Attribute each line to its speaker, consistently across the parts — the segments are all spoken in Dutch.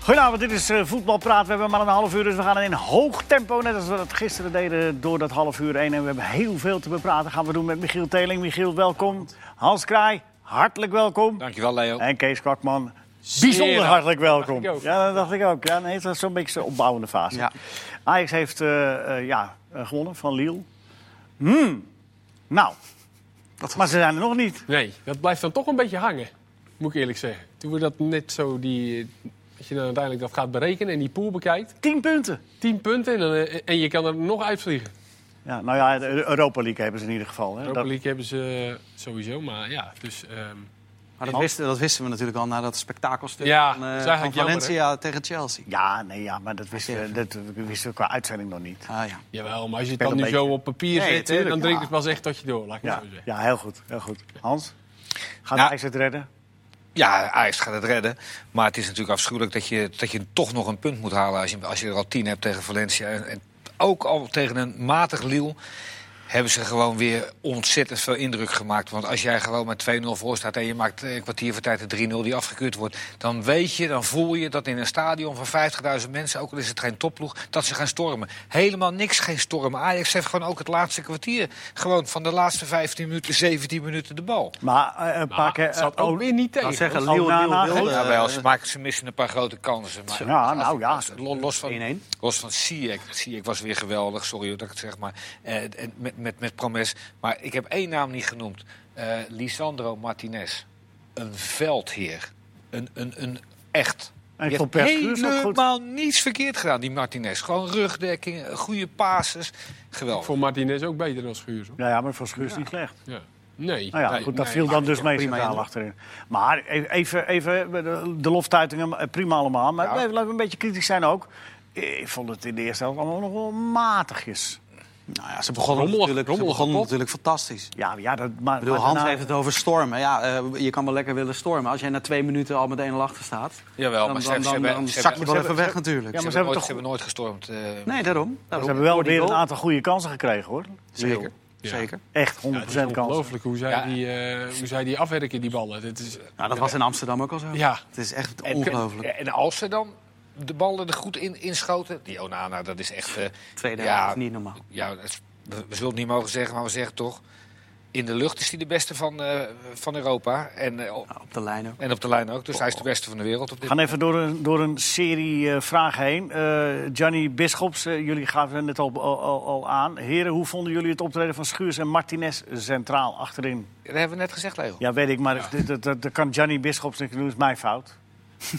Speaker 1: Goedenavond, dit is eh, Voetbalpraat. We hebben maar een half uur, dus we gaan in hoog tempo. Net als we dat gisteren deden door dat half uur heen. En we hebben heel veel te bepraten. Gaan we doen met Michiel Teling. Michiel, welkom. Hans Kraai, hartelijk welkom.
Speaker 2: Dankjewel, Leo.
Speaker 1: En Kees Kwakman,
Speaker 2: Zeer
Speaker 1: bijzonder
Speaker 2: dank.
Speaker 1: hartelijk welkom.
Speaker 2: Dacht ik ook.
Speaker 1: Ja, dat dacht ik ook. Ja, nee, het was zo'n beetje een opbouwende fase.
Speaker 2: Ja.
Speaker 1: Ajax heeft eh, eh, ja, eh, gewonnen van Lille. Hmm. Nou, maar ze zijn er nog niet.
Speaker 3: Nee, dat blijft dan toch een beetje hangen, moet ik eerlijk zeggen. Toen we dat net zo, die, eh, als je dan uiteindelijk dat gaat berekenen en die pool bekijkt.
Speaker 1: Tien punten.
Speaker 3: 10 punten en, dan, eh, en je kan er nog uitvliegen.
Speaker 1: Ja, nou ja, de Europa League hebben ze in ieder geval. Hè.
Speaker 3: Europa
Speaker 1: Dat-
Speaker 3: League hebben ze eh, sowieso, maar ja, dus... ehm,
Speaker 2: Maar dat wisten, dat wisten we natuurlijk al na dat spektakelstuk
Speaker 3: Ja,
Speaker 2: van,
Speaker 3: dat
Speaker 2: eh,
Speaker 3: is
Speaker 2: van
Speaker 3: eigenlijk jammer,
Speaker 2: Valencia tegen Chelsea.
Speaker 1: Ja, nee, ja, maar dat wisten, we, dat wisten we qua uitzending nog niet.
Speaker 2: Ah, ja.
Speaker 3: jawel, maar als je het
Speaker 1: ben
Speaker 3: dan
Speaker 1: een
Speaker 3: nu
Speaker 1: beetje-
Speaker 3: zo op papier
Speaker 2: Nee,
Speaker 3: zet, hè,
Speaker 2: tuurlijk,
Speaker 3: dan drinkt
Speaker 2: ja.
Speaker 3: het pas echt tot je door, laat ik het
Speaker 1: Ja,
Speaker 3: zo zeggen.
Speaker 1: ja heel goed, heel goed. Hans, gaat
Speaker 4: Ja.
Speaker 1: Ajax het redden?
Speaker 4: Ja, Ajax gaat het redden. Maar het is natuurlijk afschuwelijk dat je, dat je toch nog een punt moet halen... als je, als je er al tien hebt tegen Valencia. En, en ook al tegen een matig Lille hebben ze gewoon weer ontzettend veel indruk gemaakt. Want als jij gewoon met 2-0 voor staat en je maakt eh, een kwartier voor tijd de 3-0 die afgekeurd wordt... dan weet je, dan voel je dat in een stadion van 50.000 mensen... ook al is het geen topploeg, dat ze gaan stormen. Helemaal niks, geen storm. Ajax heeft gewoon ook het laatste kwartier... gewoon van de laatste 15 minuten, 17 minuten de bal.
Speaker 1: Maar eh, een paar
Speaker 3: Maar
Speaker 1: keer...
Speaker 3: Nou, het zat
Speaker 1: eh,
Speaker 3: ook weer niet
Speaker 2: Ik
Speaker 3: tegen.
Speaker 2: zou zeggen,
Speaker 1: Oh,
Speaker 2: Lille,
Speaker 1: na-
Speaker 2: Lille
Speaker 1: na-
Speaker 2: wilde,
Speaker 4: Ja, wel, ze,
Speaker 2: eh,
Speaker 4: maken, ze missen een paar grote kansen. Maar
Speaker 1: Ja, nou ja.
Speaker 4: Als- lo- Los van,
Speaker 2: 1-1.
Speaker 4: los van Ziyech. Ziyech was weer geweldig, sorry dat ik het zeg, maar eh, en met, met, met Promes. Maar ik heb één naam niet genoemd. Eh, Lisandro Martinez. Een veldheer. Een, een, een echt...
Speaker 1: En
Speaker 4: Die
Speaker 1: Van
Speaker 4: heeft
Speaker 1: Persie is ook goed.
Speaker 4: helemaal niets verkeerd gedaan, die Martinez. Gewoon rugdekking, goede passes. Geweldig.
Speaker 3: Voor Martinez ook beter dan Schuurs, hoor.
Speaker 1: Nou Ja, ja, maar voor Schuur is het niet slecht.
Speaker 3: Ja. Nee.
Speaker 1: Nou ja,
Speaker 3: nee,
Speaker 1: goed, dat
Speaker 3: nee.
Speaker 1: viel dan dus mee
Speaker 2: prima
Speaker 1: centraal
Speaker 2: in.
Speaker 1: achterin. Maar e-, even, even de- de loftuitingen, eh, prima allemaal. Maar
Speaker 4: Ja.
Speaker 1: even, laten we een beetje kritisch zijn ook. Eh, Ik vond het in de eerste helft allemaal nog wel matigjes.
Speaker 2: Nou ja, ze begonnen
Speaker 3: Rommelig,
Speaker 2: natuurlijk, ze
Speaker 3: rommelig
Speaker 2: begonnen
Speaker 3: kapot. Nou-
Speaker 2: natuurlijk fantastisch.
Speaker 1: Ja, ja dat, maar,
Speaker 2: Ik bedoel,
Speaker 1: maar
Speaker 2: Hans
Speaker 1: daarna-
Speaker 2: heeft het over stormen. Ja, eh, je kan wel lekker willen stormen. Als jij na twee minuten al met 1-0 achter staat,
Speaker 4: Jawel,
Speaker 2: dan,
Speaker 4: maar ze
Speaker 2: dan,
Speaker 4: hebben- ze
Speaker 2: dan,
Speaker 4: hebben-
Speaker 2: dan
Speaker 4: ze
Speaker 2: zak je
Speaker 4: hebben-
Speaker 2: wel
Speaker 1: ze
Speaker 2: even weg
Speaker 1: hebben-
Speaker 2: natuurlijk.
Speaker 1: Ja, maar
Speaker 4: ze,
Speaker 1: ze
Speaker 4: hebben
Speaker 1: hebben
Speaker 4: nooit,
Speaker 1: toch-
Speaker 4: ze hebben nooit gestormd. eh,
Speaker 2: Nee, daarom.
Speaker 1: Ze
Speaker 2: daarom.
Speaker 1: hebben wel
Speaker 2: Door die
Speaker 1: weer een
Speaker 2: goal.
Speaker 1: aantal goede kansen gekregen, hoor.
Speaker 2: Zeker,
Speaker 3: Ja.
Speaker 2: zeker.
Speaker 1: Echt 100%
Speaker 3: Ja, het is
Speaker 1: kansen.
Speaker 3: ongelooflijk hoe, zij
Speaker 4: Ja.
Speaker 3: die, eh, hoe zij die afwerken, die ballen. Dat is,
Speaker 2: Nou, dat was in Amsterdam ook al zo.
Speaker 3: Ja.
Speaker 2: Het is echt
Speaker 4: En-
Speaker 2: ongelooflijk.
Speaker 4: En als ze dan de ballen er goed in inschoten... Die Onana, dat is echt... eh,
Speaker 2: Tweede
Speaker 4: ja,
Speaker 2: helft, niet normaal.
Speaker 4: Ja, dat is- we, we zullen het niet mogen zeggen, maar we zeggen het toch... In de lucht is hij de beste van, eh, van Europa. En, eh, op-
Speaker 2: Nou, op de lijn ook.
Speaker 4: en op de lijn ook. Dus hij is de beste van de wereld op
Speaker 1: We
Speaker 4: dit
Speaker 1: gaan even door een, door een serie eh, vragen heen. Eh Gianni Bischops, eh, jullie gaven het net al, al, al aan. Heren, hoe vonden jullie het optreden van Schuurs en Martinez centraal achterin?
Speaker 4: Dat hebben we net gezegd, Leo.
Speaker 1: Ja, weet ik, maar dat- dat, dat, dat kan Gianni Bischops niks doen. Dat is mijn fout.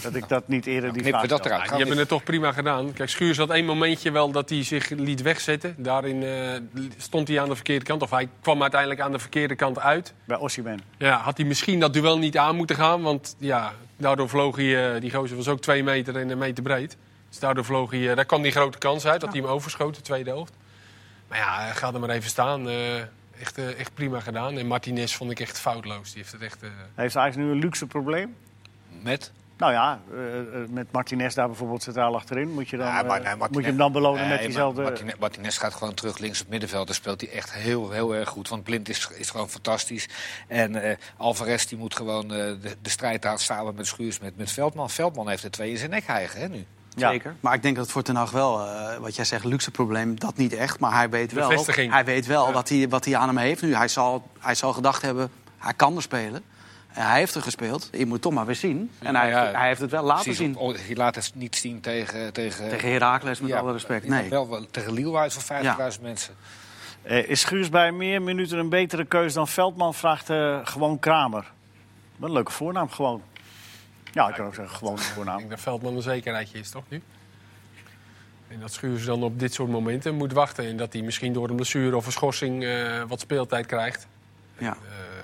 Speaker 1: Dat ik dat niet eerder die
Speaker 4: Knippen
Speaker 1: vraag
Speaker 4: we dat
Speaker 1: stelde.
Speaker 4: eruit.
Speaker 3: Ja, die hebben het toch prima gedaan. Kijk, Schuurs had één momentje wel dat hij zich liet wegzetten. Daarin eh, stond hij aan de verkeerde kant. Of hij kwam uiteindelijk aan de verkeerde kant uit.
Speaker 1: Bij Ossiman.
Speaker 3: Ja, had hij misschien dat duel niet aan moeten gaan. Want ja, daardoor vloog hij... eh, die gozer was ook twee meter en een meter breed. Dus daardoor vloog hij... eh, daar kwam die grote kans uit. Dat hij hem overschoot, de tweede helft. Maar ja, eh, ga er maar even staan. Eh, echt, eh, echt prima gedaan. En Martinez vond ik echt foutloos. Die heeft het echt... eh,
Speaker 1: Heeft Ajax nu een luxe probleem?
Speaker 4: Met?
Speaker 1: Nou ja, eh, eh, met Martinez daar bijvoorbeeld centraal achterin. Moet je, dan,
Speaker 4: Ja, maar
Speaker 1: eh,
Speaker 4: nee, Martinez-
Speaker 1: moet je hem dan belonen
Speaker 4: Nee,
Speaker 1: met
Speaker 4: maar
Speaker 1: diezelfde...
Speaker 4: Martine- Martinez gaat gewoon terug links op middenveld. Daar speelt hij echt heel, heel erg goed. Want Blind is, is gewoon fantastisch. En eh, Alvarez die moet gewoon eh, de, de strijd aan samen met Schuurs, met, met Veldman. Veldman heeft er twee in zijn nek hijgen, hè, nu.
Speaker 1: Ja.
Speaker 2: Zeker. Maar ik denk dat voor Ten Hag wel, eh, wat jij zegt, luxe probleem, dat niet echt. Maar hij weet wel,
Speaker 3: Bevestiging.
Speaker 2: hij weet wel wat, hij, wat hij aan hem heeft nu. Hij zal, hij zal gedacht hebben, hij kan er spelen. En hij heeft er gespeeld. Je moet het toch maar weer zien. En hij,
Speaker 4: Ja,
Speaker 2: heeft, hij heeft het wel laten zien.
Speaker 4: op- oh, je laat het niet zien tegen... Tegen,
Speaker 2: Tegen Herakles, met
Speaker 4: ja,
Speaker 2: alle respect.
Speaker 4: ja,
Speaker 2: Nee.
Speaker 4: Wel, wel tegen Leeuwarden voor 50.000 mensen.
Speaker 1: Eh, is Schuurs bij meer minuten een betere keus dan Veldman? Vraagt eh, gewoon Kramer. Wat een leuke voornaam, gewoon. Ja, ik kan ook zeggen, gewoon een
Speaker 3: Ik
Speaker 1: voornaam.
Speaker 3: denk dat Veldman een zekerheidje is, toch nu? En dat Schuurs dan op dit soort momenten moet wachten. En dat hij misschien door een blessure of een schorsing eh, wat speeltijd krijgt.
Speaker 2: Ja.
Speaker 3: Eh,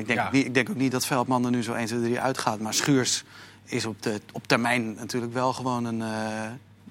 Speaker 2: Ik, denk
Speaker 3: Ja.
Speaker 2: ook niet, ik denk ook niet dat Veldman er nu zo 1, 2, 3 uitgaat. Maar Schuurs is op, de, op termijn natuurlijk wel gewoon een, eh,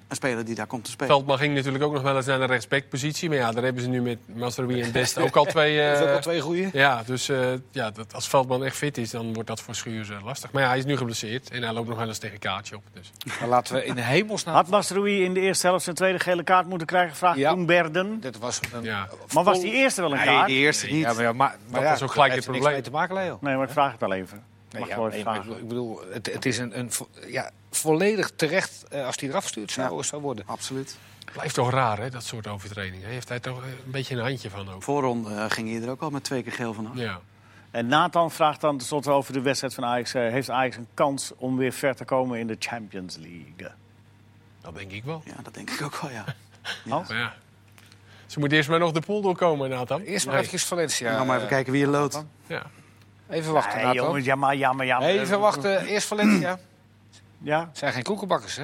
Speaker 2: een speler die daar komt te spelen.
Speaker 3: Veldman ging natuurlijk ook nog wel eens naar de rechtsbackpositie. Maar ja, daar hebben ze nu met Mastrowi en Dest ook al twee... eh,
Speaker 4: Dat is ook al twee goeie.
Speaker 3: Ja, dus eh, ja, dat, als Veldman echt fit is, dan wordt dat voor Schuurs eh, lastig. Maar ja, hij is nu geblesseerd en hij loopt nog wel eens tegen Kaatje op. Dus.
Speaker 4: Maar laten we in de hemelsnaam...
Speaker 1: Had Masroui in de eerste helft zijn tweede gele kaart moeten krijgen? Vraagt
Speaker 4: Ja.
Speaker 1: Toen Berden.
Speaker 4: Dat was een...
Speaker 3: Ja.
Speaker 1: Maar was die eerste wel een
Speaker 2: Nee,
Speaker 1: kaart?
Speaker 2: die eerste niet.
Speaker 4: Ja, maar, ja, maar, maar
Speaker 3: Dat
Speaker 4: ja,
Speaker 3: was ook gelijk
Speaker 4: heeft
Speaker 3: het
Speaker 4: er niks
Speaker 3: probleem.
Speaker 4: mee te maken, Leo.
Speaker 1: Nee, maar ik vraag het wel even. Mag
Speaker 4: ja,
Speaker 1: wel even
Speaker 4: nee, maar ik
Speaker 1: vragen.
Speaker 4: bedoel- ik bedoel, het, het is een, een vo- ja, volledig terecht eh, als hij eraf stuurt zou, zou worden.
Speaker 2: Absoluut.
Speaker 3: Blijft toch raar, hè, dat soort overtredingen. Heeft hij toch eh, een beetje een handje van ook.
Speaker 2: Voorronde eh, ging hij er ook al met twee keer geel vanaf.
Speaker 3: Ja.
Speaker 1: En Nathan vraagt dan tenslotte over de wedstrijd van Ajax. eh, Heeft Ajax een kans om weer ver te komen in de Champions League?
Speaker 3: Dat denk ik wel.
Speaker 2: Ja, dat denk ik ook wel, ja.
Speaker 1: Hans?
Speaker 3: Maar ja. Ze moeten eerst maar nog de pool doorkomen, Nathan.
Speaker 4: Eerst maar
Speaker 3: Nee.
Speaker 4: eventjes Valencia.
Speaker 2: Dan
Speaker 1: Nou,
Speaker 2: gaan we maar even
Speaker 4: eh,
Speaker 2: kijken wie je loodt.
Speaker 3: Ja.
Speaker 4: Even wachten,
Speaker 1: Nee,
Speaker 4: Nathan.
Speaker 1: jongens, ja maar, ja maar, ja maar. eh,
Speaker 4: Even wachten. Eerst Valencia.
Speaker 1: Ja,
Speaker 4: Het zijn geen koekenbakkers, hè?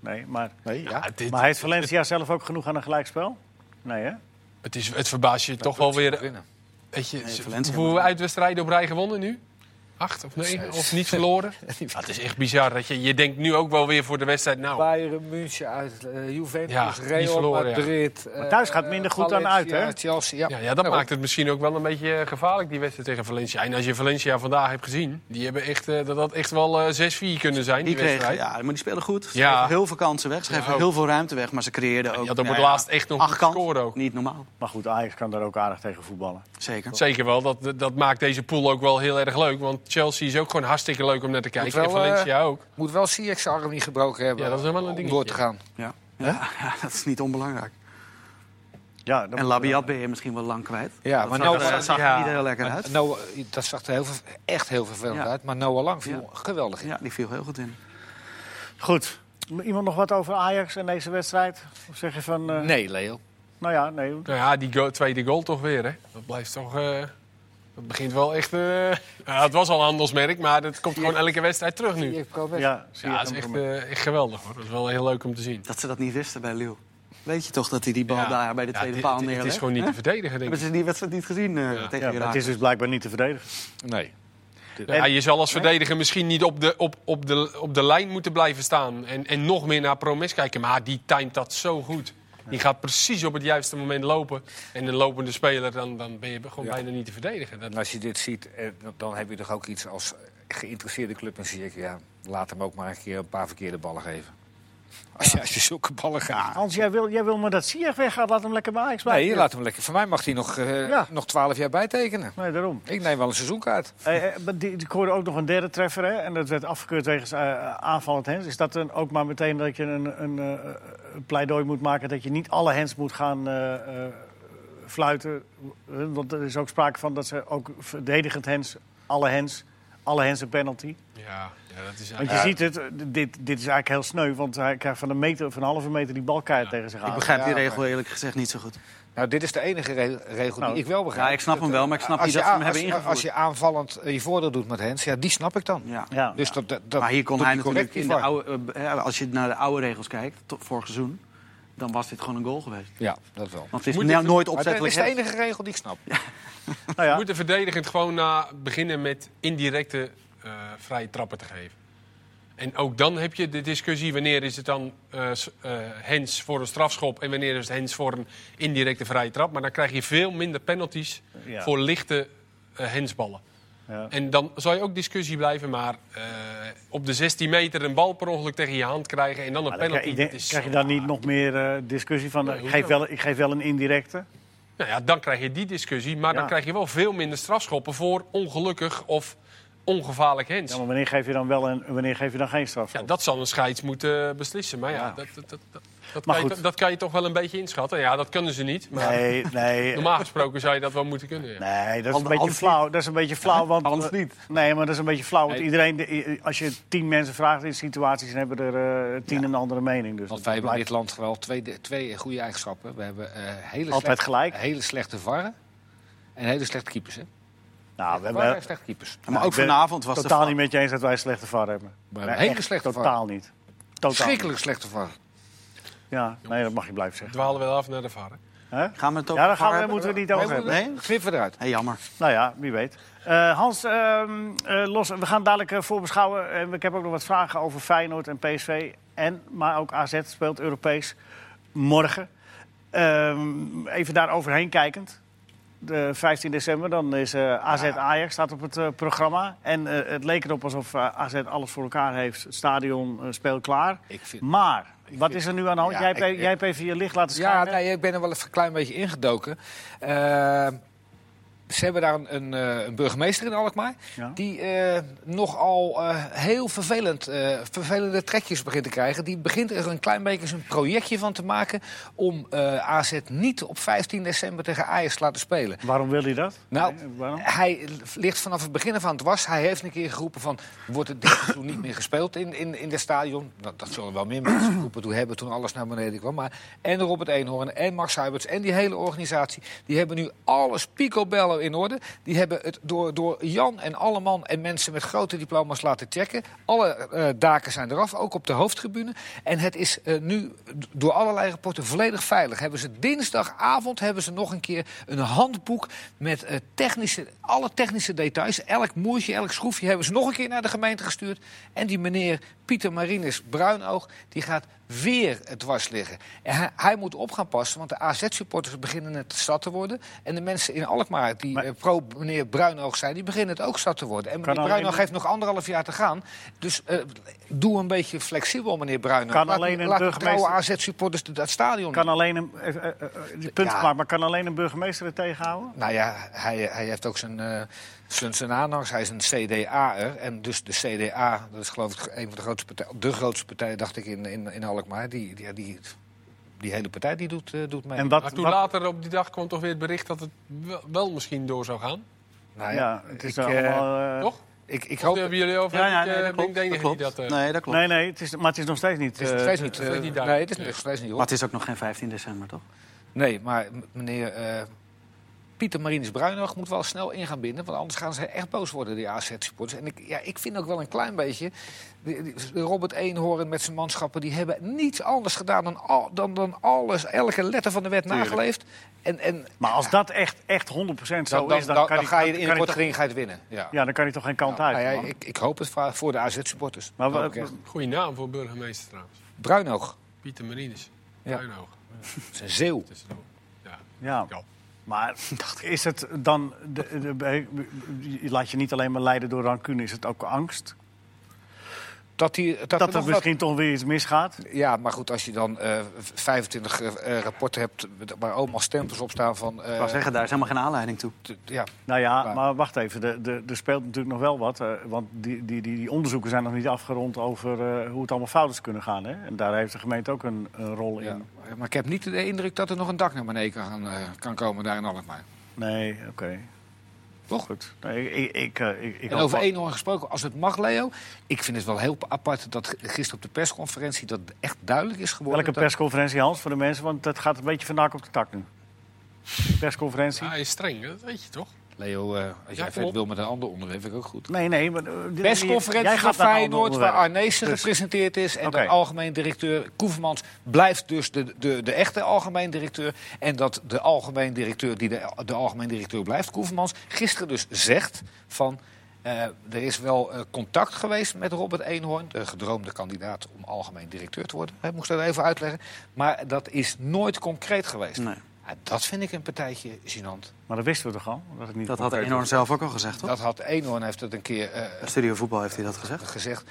Speaker 1: nee, maar...
Speaker 4: Nee,
Speaker 3: Ja, dit-
Speaker 1: Maar heeft Valencia zelf ook genoeg aan een gelijkspel? Nee, hè?
Speaker 3: het, is, het verbaast je toch wel weer.
Speaker 4: Winnen.
Speaker 3: Weet je,
Speaker 2: Nee,
Speaker 3: ze-
Speaker 2: Valencia
Speaker 3: hoeveel
Speaker 2: moet-
Speaker 3: uitwedstrijden op rij gewonnen nu? Acht of negen? Of niet verloren? Ja, het is echt bizar. Dat je, je denkt nu ook wel weer voor de wedstrijd. Nou,
Speaker 5: Bayern München uit, eh, Juventus,
Speaker 3: Ja, die
Speaker 5: Real
Speaker 3: verloren, ja.
Speaker 5: Madrid. eh,
Speaker 1: thuis gaat minder goed dan uit, hè?
Speaker 4: Ja, Chelsea, ja. Nou,
Speaker 3: ja, ja, dat maakt het misschien ook wel een beetje eh, gevaarlijk, die wedstrijd tegen Valencia. En als je Valencia vandaag hebt gezien, die hebben echt, eh, dat had echt wel eh, 6-4 kunnen zijn, die,
Speaker 2: Die kregen,
Speaker 3: wedstrijd.
Speaker 2: ja, maar die spelen goed. Ze
Speaker 3: Ja.
Speaker 2: geven heel veel kansen weg. Ze geven
Speaker 3: Ja, ook.
Speaker 2: heel veel ruimte weg, maar ze creëerden ook...
Speaker 3: Je had op
Speaker 2: nou
Speaker 3: het
Speaker 2: ja,
Speaker 3: laatst echt nog
Speaker 2: acht
Speaker 3: moeten
Speaker 2: kansen.
Speaker 3: scoren ook.
Speaker 2: Niet normaal,
Speaker 1: Maar goed, Ajax kan daar ook aardig tegen voetballen.
Speaker 2: zeker.
Speaker 3: Zeker wel, dat, dat maakt deze pool ook wel heel erg leuk. Want Chelsea is ook gewoon hartstikke leuk om naar te kijken.
Speaker 4: wel,
Speaker 3: en Valencia ook.
Speaker 4: Moet wel CX zijn arm niet gebroken hebben
Speaker 3: Ja, dat is wel een
Speaker 4: om
Speaker 3: dingetje.
Speaker 4: door te gaan.
Speaker 2: Ja. Ja, ja, dat is niet onbelangrijk.
Speaker 1: Ja, dat moet
Speaker 2: En
Speaker 1: wel.
Speaker 2: Labiat ben je misschien wel lang kwijt.
Speaker 4: Ja,
Speaker 2: dat
Speaker 4: maar
Speaker 2: zag,
Speaker 4: nou,
Speaker 2: dat
Speaker 4: eh,
Speaker 2: zag er
Speaker 3: ja.
Speaker 2: niet heel lekker uit.
Speaker 4: Noah, Nou, dat zag er heel ver- echt heel vervelend
Speaker 2: Ja.
Speaker 4: uit. Maar Noah Lang viel geweldig in.
Speaker 2: Ja, die viel heel goed in.
Speaker 1: eh, Goed. Iemand nog wat over Ajax en deze wedstrijd? Of zeg je van... eh,
Speaker 4: Nee, Leo.
Speaker 1: Nou ja, nee.
Speaker 3: Nou ja, die go- tweede goal toch weer, hè? Dat blijft toch... eh, dat begint wel echt... eh, ja, het was al een handelsmerk, maar dat komt gewoon elke wedstrijd terug nu.
Speaker 5: Ik probeer-
Speaker 1: Ja, zie je
Speaker 3: Ja, dat is
Speaker 1: hem
Speaker 3: echt,
Speaker 1: voor me.
Speaker 3: eh, echt geweldig, hoor. Dat is wel heel leuk om te zien.
Speaker 2: Dat ze dat niet wisten bij Lille. Weet je toch dat hij die bal daar bij de
Speaker 3: Ja,
Speaker 2: tweede
Speaker 3: dit-
Speaker 2: paal
Speaker 3: dit- Het is
Speaker 2: neerlegt?
Speaker 3: gewoon niet te verdedigen, denk
Speaker 2: Hebben
Speaker 3: ik.
Speaker 2: ze die wedstrijd niet gezien eh, tegen
Speaker 1: Ja, maar het
Speaker 2: Irak?
Speaker 1: is dus blijkbaar niet te verdedigen.
Speaker 4: Nee.
Speaker 3: Ja, je zal als verdediger misschien niet op de, op, op de, op de lijn moeten blijven staan. En, en nog meer naar Promes kijken. Maar die timet dat zo goed. Die gaat precies op het juiste moment lopen. En een lopende speler, dan, dan ben je gewoon bijna niet te verdedigen. Dat,
Speaker 4: En als je dit ziet, eh, dan- dan heb je toch ook iets als geïnteresseerde club. Dan zie ik, ja, laat hem ook maar een keer een paar verkeerde ballen geven. Als je, als je zulke ballen gaat.
Speaker 1: Hans, jij wil, jij wil maar dat Ziyech weggaat. Laat hem lekker bij Ajax blijven.
Speaker 4: Nee, laat hem lekker. Voor mij mag hij nog, eh,
Speaker 1: Ja.
Speaker 4: nog 12 jaar bijtekenen.
Speaker 1: Nee, daarom.
Speaker 4: Ik neem wel een seizoenkaart.
Speaker 1: Eh, eh, maar die, ik hoorde ook nog een derde treffer. Hè? En dat werd afgekeurd wegens eh, aanvallend hens. Is dat dan ook maar meteen dat je een, een, eh, een pleidooi moet maken... dat je niet alle hens moet gaan eh, eh, fluiten? Eh, Want er is ook sprake van dat ze ook verdedigend hens... alle hens, alle hens een penalty.
Speaker 3: ja, ja, dat is
Speaker 1: Want
Speaker 3: eigenlijk...
Speaker 1: je ziet het, eh, dit, dit is eigenlijk heel sneu. Want hij krijgt van een, meter, van een halve meter die bal keihard tegen zich
Speaker 2: Ik
Speaker 1: aan.
Speaker 2: begrijp die
Speaker 4: Ja,
Speaker 2: regel eerlijk gezegd niet zo goed.
Speaker 4: Nou, dit is de enige re- regel
Speaker 1: Nou,
Speaker 4: die ik wel begrijp.
Speaker 2: ja, ik snap hem wel, maar ik snap
Speaker 4: Als
Speaker 2: niet
Speaker 4: je
Speaker 2: dat ze
Speaker 4: a-
Speaker 2: hem hebben
Speaker 4: als je- Als je aanvallend eh, je voordeel doet met Hens, ja, die snap ik dan.
Speaker 2: Ja.
Speaker 1: Ja.
Speaker 4: Dus dat, dat, dat
Speaker 2: maar hier kon
Speaker 4: doet
Speaker 2: hij
Speaker 4: correct
Speaker 2: natuurlijk in de
Speaker 4: voor.
Speaker 2: oude, eh, eh, als je naar de oude regels kijkt, tot vorig seizoen, dan was dit gewoon een goal geweest.
Speaker 4: Ja, dat wel.
Speaker 2: Want het is
Speaker 3: Moet
Speaker 2: nou
Speaker 3: ik-
Speaker 2: nooit
Speaker 4: Maar dat
Speaker 2: opzettelijk.
Speaker 4: is de
Speaker 2: heft.
Speaker 4: enige regel die ik snap.
Speaker 1: Nou ja.
Speaker 3: Je moet de verdedigend gewoon na beginnen met indirecte eh, vrije trappen te geven. En ook dan heb je de discussie wanneer is het dan eh, s- eh, hens voor een strafschop en wanneer is het hens voor een indirecte vrije trap. Maar dan krijg je veel minder penalties
Speaker 1: Ja.
Speaker 3: voor lichte eh, hensballen.
Speaker 1: Ja.
Speaker 3: En dan zal je ook discussie blijven, maar eh, op de 16 meter een bal per ongeluk tegen je hand krijgen en dan een
Speaker 1: Maar dan
Speaker 3: penalty.
Speaker 1: krijg, ik denk-
Speaker 3: dat is
Speaker 1: krijg je
Speaker 3: zo
Speaker 1: dan niet
Speaker 3: raar.
Speaker 1: nog meer eh, discussie van... eh,
Speaker 3: Nee,
Speaker 1: ik,
Speaker 3: hoezo?
Speaker 1: geef wel, ik geef wel een indirecte.
Speaker 3: Nou ja, dan krijg je die discussie, maar
Speaker 1: Ja.
Speaker 3: dan krijg je wel veel minder strafschoppen voor ongelukkig of ongevaarlijk hens.
Speaker 1: Ja, maar wanneer geef je dan wel en wanneer geef je dan geen straf?
Speaker 3: Ja, dat zal een scheids moeten eh, beslissen. Maar ja, Dat, dat, dat, dat, dat
Speaker 1: Maar
Speaker 3: kan je,
Speaker 1: goed.
Speaker 3: to- dat kan je toch wel een beetje inschatten. Ja, dat kunnen ze niet. Maar
Speaker 1: Nee, nee.
Speaker 3: normaal gesproken zou je dat wel moeten kunnen. Ja.
Speaker 1: Nee, dat is, een
Speaker 2: Anders
Speaker 1: beetje
Speaker 2: niet.
Speaker 1: flauw. dat is een beetje flauw. Want,
Speaker 2: anders niet.
Speaker 1: Nee, maar dat is een beetje flauw. Want
Speaker 4: Nee.
Speaker 1: iedereen, de- als je tien mensen vraagt in situaties, dan hebben er eh, tien een andere mening. Dus
Speaker 4: Want
Speaker 1: dat
Speaker 4: wij hebben in
Speaker 1: blijft-
Speaker 4: dit land wel twee, twee goede eigenschappen. We hebben eh, hele,
Speaker 1: Altijd
Speaker 4: slechte,
Speaker 1: gelijk.
Speaker 4: hele slechte varren en hele slechte keepers. Hè?
Speaker 1: nou, we
Speaker 4: Varren en
Speaker 1: hebben
Speaker 4: slechte keepers.
Speaker 2: Maar
Speaker 1: ik
Speaker 2: ook
Speaker 1: ben
Speaker 2: vanavond was de
Speaker 1: totaal
Speaker 2: vlag-
Speaker 1: niet met je eens dat wij een slechte VAR hebben.
Speaker 4: We hebben hele
Speaker 1: echt
Speaker 4: slechte varren.
Speaker 1: Totaal niet. Totaal.
Speaker 4: Schrikkelijk slechte varren.
Speaker 1: niet. Ja, nee, dat mag je blijven zeggen.
Speaker 3: Dwalen we wel af naar de varen.
Speaker 1: Hè?
Speaker 2: Gaan we het ook
Speaker 1: Ja, daar gaan we,
Speaker 2: hebben?
Speaker 1: moeten we het niet over hebben.
Speaker 2: Nee?
Speaker 4: Knippen we eruit.
Speaker 2: Hey, jammer.
Speaker 1: Nou ja, wie weet. Eh, Hans, ehm, eh, los, we gaan dadelijk eh, voorbeschouwen. En ik heb ook nog wat vragen over Feyenoord en PSV. En, maar ook AZ speelt Europees morgen. Ehm, even daar overheen kijkend. De 15 december, dan is eh, AZ Ajax staat op het eh, programma. En eh, het leek erop alsof eh, AZ alles voor elkaar heeft. Het stadion eh, speelt klaar.
Speaker 4: Ik vind...
Speaker 1: Maar, wat is er nu aan de hand?
Speaker 4: Ja,
Speaker 1: jij, hebt, e-
Speaker 4: ik- ik-
Speaker 1: jij hebt even je licht laten schijnen.
Speaker 4: Ja, nee, ik ben er wel even een klein beetje ingedoken. Eh, ze hebben daar een, een, eh, een burgemeester in Alkmaar...
Speaker 1: Ja.
Speaker 4: die eh, nogal eh, heel vervelend, eh, vervelende trekjes begint te krijgen. Die begint er een klein beetje zijn projectje van te maken... om eh, AZ niet op 15 december tegen Ajax te laten spelen.
Speaker 1: Waarom wil hij dat?
Speaker 4: Nou,
Speaker 1: Nee, waarom?
Speaker 4: hij ligt vanaf het begin af aan het was. Hij heeft een keer geroepen van... wordt het dit seizoen niet meer gespeeld in, in, in de stadion? Dat, dat zullen wel meer mensen geroepen toen hebben... toen alles naar beneden kwam. Maar en Robert Eenhoorn en Max Huiberts en die hele organisatie... die hebben nu alles picobello in orde. Die hebben het door, door Jan en Alleman en mensen met grote diploma's laten checken. Alle eh, daken zijn eraf, ook op de hoofdtribune. En het is eh, nu d- door allerlei rapporten volledig veilig. Hebben ze dinsdagavond hebben ze nog een keer een handboek met eh, technische, alle technische details. Elk moertje, elk schroefje hebben ze nog een keer naar de gemeente gestuurd. En die meneer Pieter Marinus Bruinoog, die gaat weer dwars liggen. En hij, hij moet op gaan passen, want de AZ-supporters beginnen het zat te worden. En de mensen in Alkmaar die
Speaker 1: Maar-
Speaker 4: eh, pro meneer Bruinoog zijn, die beginnen het ook zat te worden. En meneer
Speaker 1: alleen-
Speaker 4: Bruinoog heeft nog anderhalf jaar te gaan. Dus eh, doe een beetje flexibel, meneer Bruinoog.
Speaker 1: Kan
Speaker 4: laat
Speaker 1: alleen een
Speaker 4: laat de
Speaker 1: burgemeester-
Speaker 4: trouwe AZ-supporters dat stadion
Speaker 1: Kan alleen een, eh, eh, eh, die punt
Speaker 4: Ja.
Speaker 1: gemaakt, maar kan alleen een burgemeester het tegenhouden?
Speaker 4: Nou ja, hij, hij heeft ook zijn, eh, zijn, zijn aanhangers. Hij is een CDA'er. En dus de CDA, dat is geloof ik een van de grootste partijen... de grootste partij, dacht ik, in, in, in Alkmaar. Die, die, die, die hele partij die doet, eh, doet mee.
Speaker 1: En
Speaker 3: Maar
Speaker 1: wat,
Speaker 3: toen
Speaker 1: wat-
Speaker 3: later op die dag kwam toch weer het bericht dat het wel, wel misschien door zou gaan.
Speaker 4: Nou
Speaker 1: ja, het is
Speaker 4: ik, eh,
Speaker 1: allemaal... eh,
Speaker 3: toch?
Speaker 4: ik, ik
Speaker 3: Of
Speaker 4: hoop...
Speaker 3: hebben jullie over?
Speaker 2: Ja, ja,
Speaker 3: ik, eh,
Speaker 2: nee, dat
Speaker 3: ben ik
Speaker 2: klopt.
Speaker 3: de enige
Speaker 2: Dat
Speaker 3: die
Speaker 2: klopt.
Speaker 3: dat... eh,
Speaker 2: Nee, dat klopt.
Speaker 1: Nee, nee, het is, maar het is nog steeds niet...
Speaker 4: Het is nog
Speaker 1: eh,
Speaker 4: steeds niet,
Speaker 3: het is nog
Speaker 4: eh,
Speaker 3: niet
Speaker 4: nee,
Speaker 3: duidelijk.
Speaker 4: het is nog steeds niet
Speaker 2: Maar
Speaker 4: hoor.
Speaker 2: het is ook nog geen 15 december, toch?
Speaker 4: Nee, maar m- meneer eh, Pieter Marinus Bruinog moet wel snel in gaan binden. Want anders gaan ze echt boos worden, die AZ-supporters. En ik, ja, ik vind ook wel een klein beetje... die- die- Robert Eenhoorn met zijn manschappen... die hebben niets anders gedaan dan, al, dan, dan alles, elke letter van de wet nageleefd. En, en
Speaker 1: Maar als dat echt, echt 100% zo
Speaker 4: dan, dan,
Speaker 1: is, dan,
Speaker 4: dan-
Speaker 1: kan
Speaker 4: dan
Speaker 1: hij-
Speaker 4: ga
Speaker 1: dan
Speaker 4: je in
Speaker 1: kan
Speaker 4: de
Speaker 1: hij
Speaker 4: korte
Speaker 1: toch-
Speaker 4: kring ga je het winnen. Ja.
Speaker 1: Ja, dan kan hij toch geen kant
Speaker 4: Nou
Speaker 1: uit.
Speaker 4: ja,
Speaker 1: man.
Speaker 4: ik, ik hoop het va- voor de AZ-supporters.
Speaker 1: Maar
Speaker 4: Dat
Speaker 1: wa-
Speaker 4: hoop ik echt.
Speaker 3: Goeie naam voor burgemeester trouwens.
Speaker 4: eh, Bruinhoog,
Speaker 3: Pieter Marines.
Speaker 4: Ja.
Speaker 3: Bruinhoog.
Speaker 4: dat is een zeeuw.
Speaker 3: Tussendoor. Ja.
Speaker 1: ja.
Speaker 3: Ja.
Speaker 1: Maar is het dan... De, de- de- je laat je niet alleen maar leiden door rancune. Is het ook angst?
Speaker 4: Dat, die, dat, er
Speaker 1: Dat er
Speaker 4: nog wat-
Speaker 1: misschien toch weer iets misgaat?
Speaker 4: Ja, maar goed, als je dan eh, v- 25 eh, eh, rapporten hebt met- waar allemaal stempels op staan van... eh,
Speaker 2: Ik wou zeggen, daar is helemaal geen aanleiding toe.
Speaker 4: t- ja,
Speaker 1: Nou ja,
Speaker 4: Maar-
Speaker 1: maar wacht even. Er de, de, er speelt natuurlijk nog wel wat. eh, want die, die, die, die onderzoeken zijn nog niet afgerond over eh, hoe het allemaal fout is kunnen gaan. Hè? En daar heeft de gemeente ook een, een rol
Speaker 4: ja,
Speaker 1: in.
Speaker 4: maar ik heb niet de indruk dat er nog een dak naar beneden kan, gaan, eh, kan komen daar in Alkmaar.
Speaker 1: Nee, oké.
Speaker 4: Toch?
Speaker 1: Goed. Nee, ik, ik, eh, ik, ik
Speaker 4: En
Speaker 1: hoop
Speaker 4: over
Speaker 1: wel-
Speaker 4: één hoorn gesproken, als het mag, Leo. Ik vind het wel heel apart dat g- gisteren op de persconferentie dat echt duidelijk is geworden.
Speaker 1: Welke
Speaker 4: dat-
Speaker 1: persconferentie, Hans, voor de mensen? Want dat gaat een beetje van de hak op de tak nu. Die Persconferentie?
Speaker 3: Ja, hij is streng, hè? dat weet je toch?
Speaker 4: Leo, eh, als jij verder
Speaker 3: klopt.
Speaker 4: wil met een ander onderwerp, vind ik ook goed.
Speaker 1: Nee, nee. Maar, eh, dit-
Speaker 4: persconferentie
Speaker 1: jij
Speaker 4: van
Speaker 1: gaat naar een ander
Speaker 4: Feyenoord, waar
Speaker 1: onderwerp.
Speaker 4: Arnezen
Speaker 1: Dus-
Speaker 4: gepresenteerd is. En
Speaker 1: Oké.
Speaker 4: de algemeen directeur Koevermans blijft dus de, de, de echte algemeen directeur. En dat de algemeen directeur die de, de algemeen directeur blijft, Koevermans, gisteren dus zegt van... eh, er is wel eh, contact geweest met Robert Eenhoorn, de gedroomde kandidaat om algemeen directeur te worden. Hij moest dat even uitleggen. Maar dat is nooit concreet geweest.
Speaker 2: Nee.
Speaker 4: Ja, dat vind ik een partijtje gênant.
Speaker 1: Maar dat wisten we toch al? Dat, het niet
Speaker 2: Dat had
Speaker 1: concreet
Speaker 2: Eenhoorn zelf ook al gezegd, toch?
Speaker 4: Dat had Eenhoorn heeft dat een keer eh,
Speaker 2: Studio voetbal heeft hij dat gezegd.
Speaker 4: gezegd.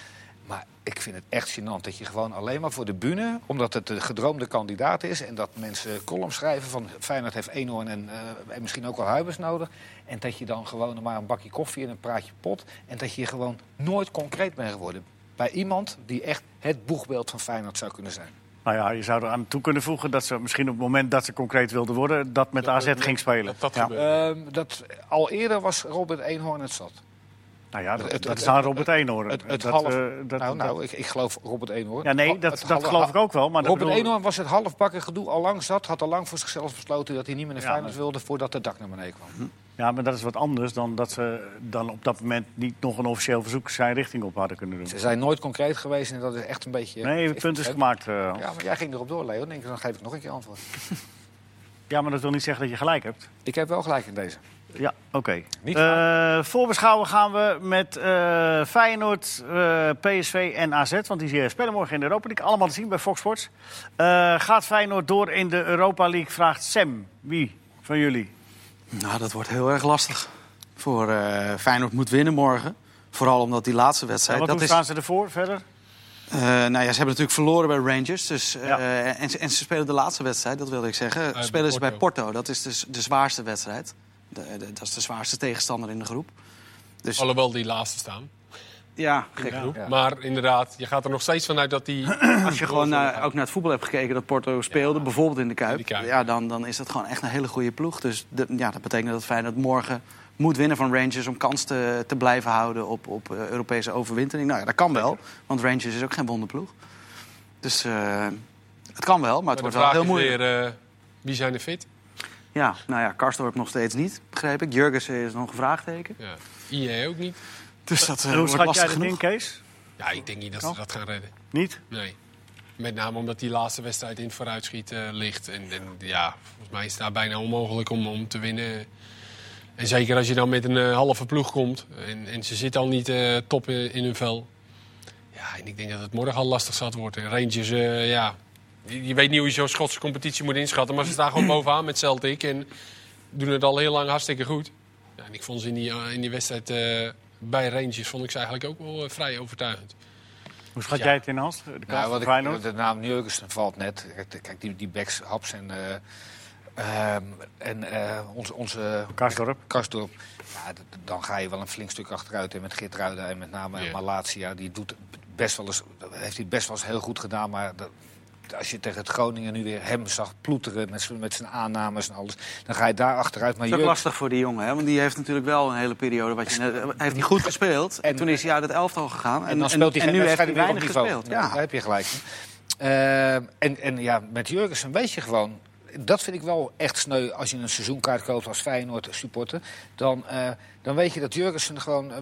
Speaker 4: Maar ik vind het echt gênant dat je gewoon alleen maar voor de bühne... omdat het de gedroomde kandidaat is... en dat mensen columns schrijven van Feyenoord heeft Eenhoorn en, eh, en misschien ook wel Huibers nodig... en dat je dan gewoon maar een bakje koffie en een praatje pot... en dat je gewoon nooit concreet bent geworden... bij iemand die echt het boegbeeld van Feyenoord zou kunnen zijn.
Speaker 1: Nou ja, je zou eraan toe kunnen voegen dat ze misschien op het moment dat ze concreet wilden worden, dat met AZ ging spelen.
Speaker 3: Dat, dat
Speaker 1: Ja.
Speaker 3: gebeurt.
Speaker 4: Ehm, dat, al eerder was Robert Eenhoorn het zat.
Speaker 1: Nou ja, dat,
Speaker 4: het-
Speaker 1: dat
Speaker 4: het-
Speaker 1: is aan Robert Eenhoorn.
Speaker 4: Het, het
Speaker 1: dat,
Speaker 4: half,
Speaker 1: eh, dat-
Speaker 4: nou,
Speaker 1: dat-
Speaker 4: nou ik, ik geloof Robert Eenhoorn. Oh,
Speaker 1: ja, nee,
Speaker 4: Het
Speaker 1: dat,
Speaker 4: halve-
Speaker 1: dat geloof ik ook wel. Maar dat
Speaker 4: Robert
Speaker 1: bedoel-
Speaker 4: Eenhoorn was het halfbakken gedoe al lang zat. Had al lang voor zichzelf besloten dat hij niet meer naar
Speaker 1: Ja,
Speaker 4: Feyenoord
Speaker 1: maar- Hm.
Speaker 4: wilde... voordat het dak naar beneden kwam.
Speaker 1: Ja, maar dat is wat anders dan dat ze dan op dat moment niet nog een officieel verzoek zijn richting op hadden kunnen doen.
Speaker 4: Ze zijn nooit concreet geweest en dat is echt een beetje...
Speaker 1: Nee, het punt is gemaakt. eh, Hans.
Speaker 4: Ja, maar jij ging erop door, Leo. Dan denk ik, dan geef ik nog een keer antwoord.
Speaker 1: Ja, maar dat wil niet zeggen dat je gelijk hebt.
Speaker 4: Ik heb wel gelijk in deze.
Speaker 1: Ja, oké.
Speaker 4: Niet
Speaker 1: Eh voorbeschouwen gaan we met eh, Feyenoord, eh, PSV en AZ. Want die eh, spelen morgen in de Europa League. Allemaal te zien bij Fox Sports. Eh, gaat Feyenoord door in de Europa League? Vraagt Sam. Wie van jullie?
Speaker 4: Eh,
Speaker 2: Nou, dat wordt heel erg lastig. Voor eh, Feyenoord moet winnen morgen. Vooral omdat die laatste wedstrijd...
Speaker 1: wat
Speaker 2: dat
Speaker 1: hoe
Speaker 2: is,
Speaker 1: staan ze ervoor verder?
Speaker 2: eh, nou ja, ze hebben natuurlijk verloren bij Rangers. Dus, eh,
Speaker 1: Ja.
Speaker 2: en, ze- en ze spelen de laatste wedstrijd, dat wilde ik zeggen.
Speaker 3: Eh, bij
Speaker 2: spelen ze bij
Speaker 3: Porto.
Speaker 2: Porto. Dat is dus de zwaarste wedstrijd. de- de- dat is de zwaarste tegenstander in de groep. Dus
Speaker 3: Alhoewel die laatste staan.
Speaker 2: ja,
Speaker 3: in de
Speaker 2: gek.
Speaker 3: groep. Maar inderdaad, je gaat er nog steeds vanuit dat die...
Speaker 2: Als je gewoon naar- ook naar het voetbal hebt gekeken dat Porto speelde, bijvoorbeeld in de Kuip,
Speaker 3: In de Kuip.
Speaker 2: Ja, dan, dan is dat gewoon echt een hele goede ploeg. Dus de- ja, dat betekent dat Feyenoord morgen moet winnen van Rangers om kans te, te blijven houden op, op eh, Europese overwintering. Nou ja, dat kan wel, want Rangers is ook geen wonderploeg. Dus eh, het kan wel, maar het
Speaker 3: Maar de
Speaker 2: wordt wel
Speaker 3: vraag
Speaker 2: heel
Speaker 3: is
Speaker 2: moeilijk.
Speaker 3: weer, eh, wie zijn er fit?
Speaker 2: Ja, nou ja, Karstorp nog steeds niet, begreep ik. Jurgensen is nog een vraagteken.
Speaker 3: Ja. IE ook niet.
Speaker 2: Dus dat eh,
Speaker 1: En hoe
Speaker 2: wordt
Speaker 1: schat jij
Speaker 2: lastig
Speaker 1: dat in,
Speaker 2: genoeg.
Speaker 1: Kees?
Speaker 3: Ja, ik denk niet dat ze
Speaker 1: Kan.
Speaker 3: dat gaan redden.
Speaker 1: Niet?
Speaker 3: Nee. Met name omdat die laatste wedstrijd in het vooruitschiet eh, ligt. En, en ja, volgens mij is het daar bijna onmogelijk om, om te winnen. En zeker als je dan met een eh, halve ploeg komt. En, en ze zitten al niet eh, top in, in hun vel. Ja, en ik denk dat het morgen al lastig zat wordt. En Rangers, eh, ja... Je je weet niet hoe je zo'n Schotse competitie moet inschatten. Maar ze staan gewoon bovenaan met Celtic. En doen het al heel lang hartstikke goed. Ja, en ik vond ze in die, eh, in die wedstrijd eh, bij Rangers vond ik ze eigenlijk ook wel eh, vrij overtuigend.
Speaker 1: Hoe schat
Speaker 3: Ja.
Speaker 1: jij het in, Hans? De kans
Speaker 4: Nou,
Speaker 1: van
Speaker 4: wat ik-
Speaker 1: Feyenoord?
Speaker 4: de naam Jurgensen valt net. Kijk, Kijk, die, die backs, Haps en, eh, ehm, en eh, onze, onze
Speaker 1: Karsdorp.
Speaker 4: Karsdorp. Ja, d- d- dan ga je wel een flink stuk achteruit. En met Geert Ruida en met name
Speaker 3: Ja.
Speaker 4: Malatia, die doet best wel eens, dat heeft hij best wel eens heel goed gedaan. Maar dat- als je tegen het Groningen nu weer hem zag ploeteren met, z'n- met zijn aannames en alles, dan ga je daar achteruit. Maar
Speaker 2: Dat is ook
Speaker 4: Jurgensen-
Speaker 2: lastig voor die jongen, hè? want die heeft natuurlijk wel een hele periode. Wat je net, hij heeft niet goed gespeeld. En,
Speaker 4: En-
Speaker 2: toen is hij uit het elftal gegaan. En,
Speaker 4: En, dan speelt hij
Speaker 2: en
Speaker 4: geen
Speaker 2: nu heeft
Speaker 4: wedstrijd
Speaker 2: hij
Speaker 4: meer op
Speaker 2: weinig
Speaker 4: niveau.
Speaker 2: gespeeld.
Speaker 4: Ja,
Speaker 2: Ja.
Speaker 4: Daar heb je gelijk. in. Ehm, en, en ja, met Jurgensen weet je gewoon... Dat vind ik wel echt sneu als je een seizoenkaart koopt als Feyenoord supporter. Dan, eh, dan weet je dat Jurgensen gewoon, eh,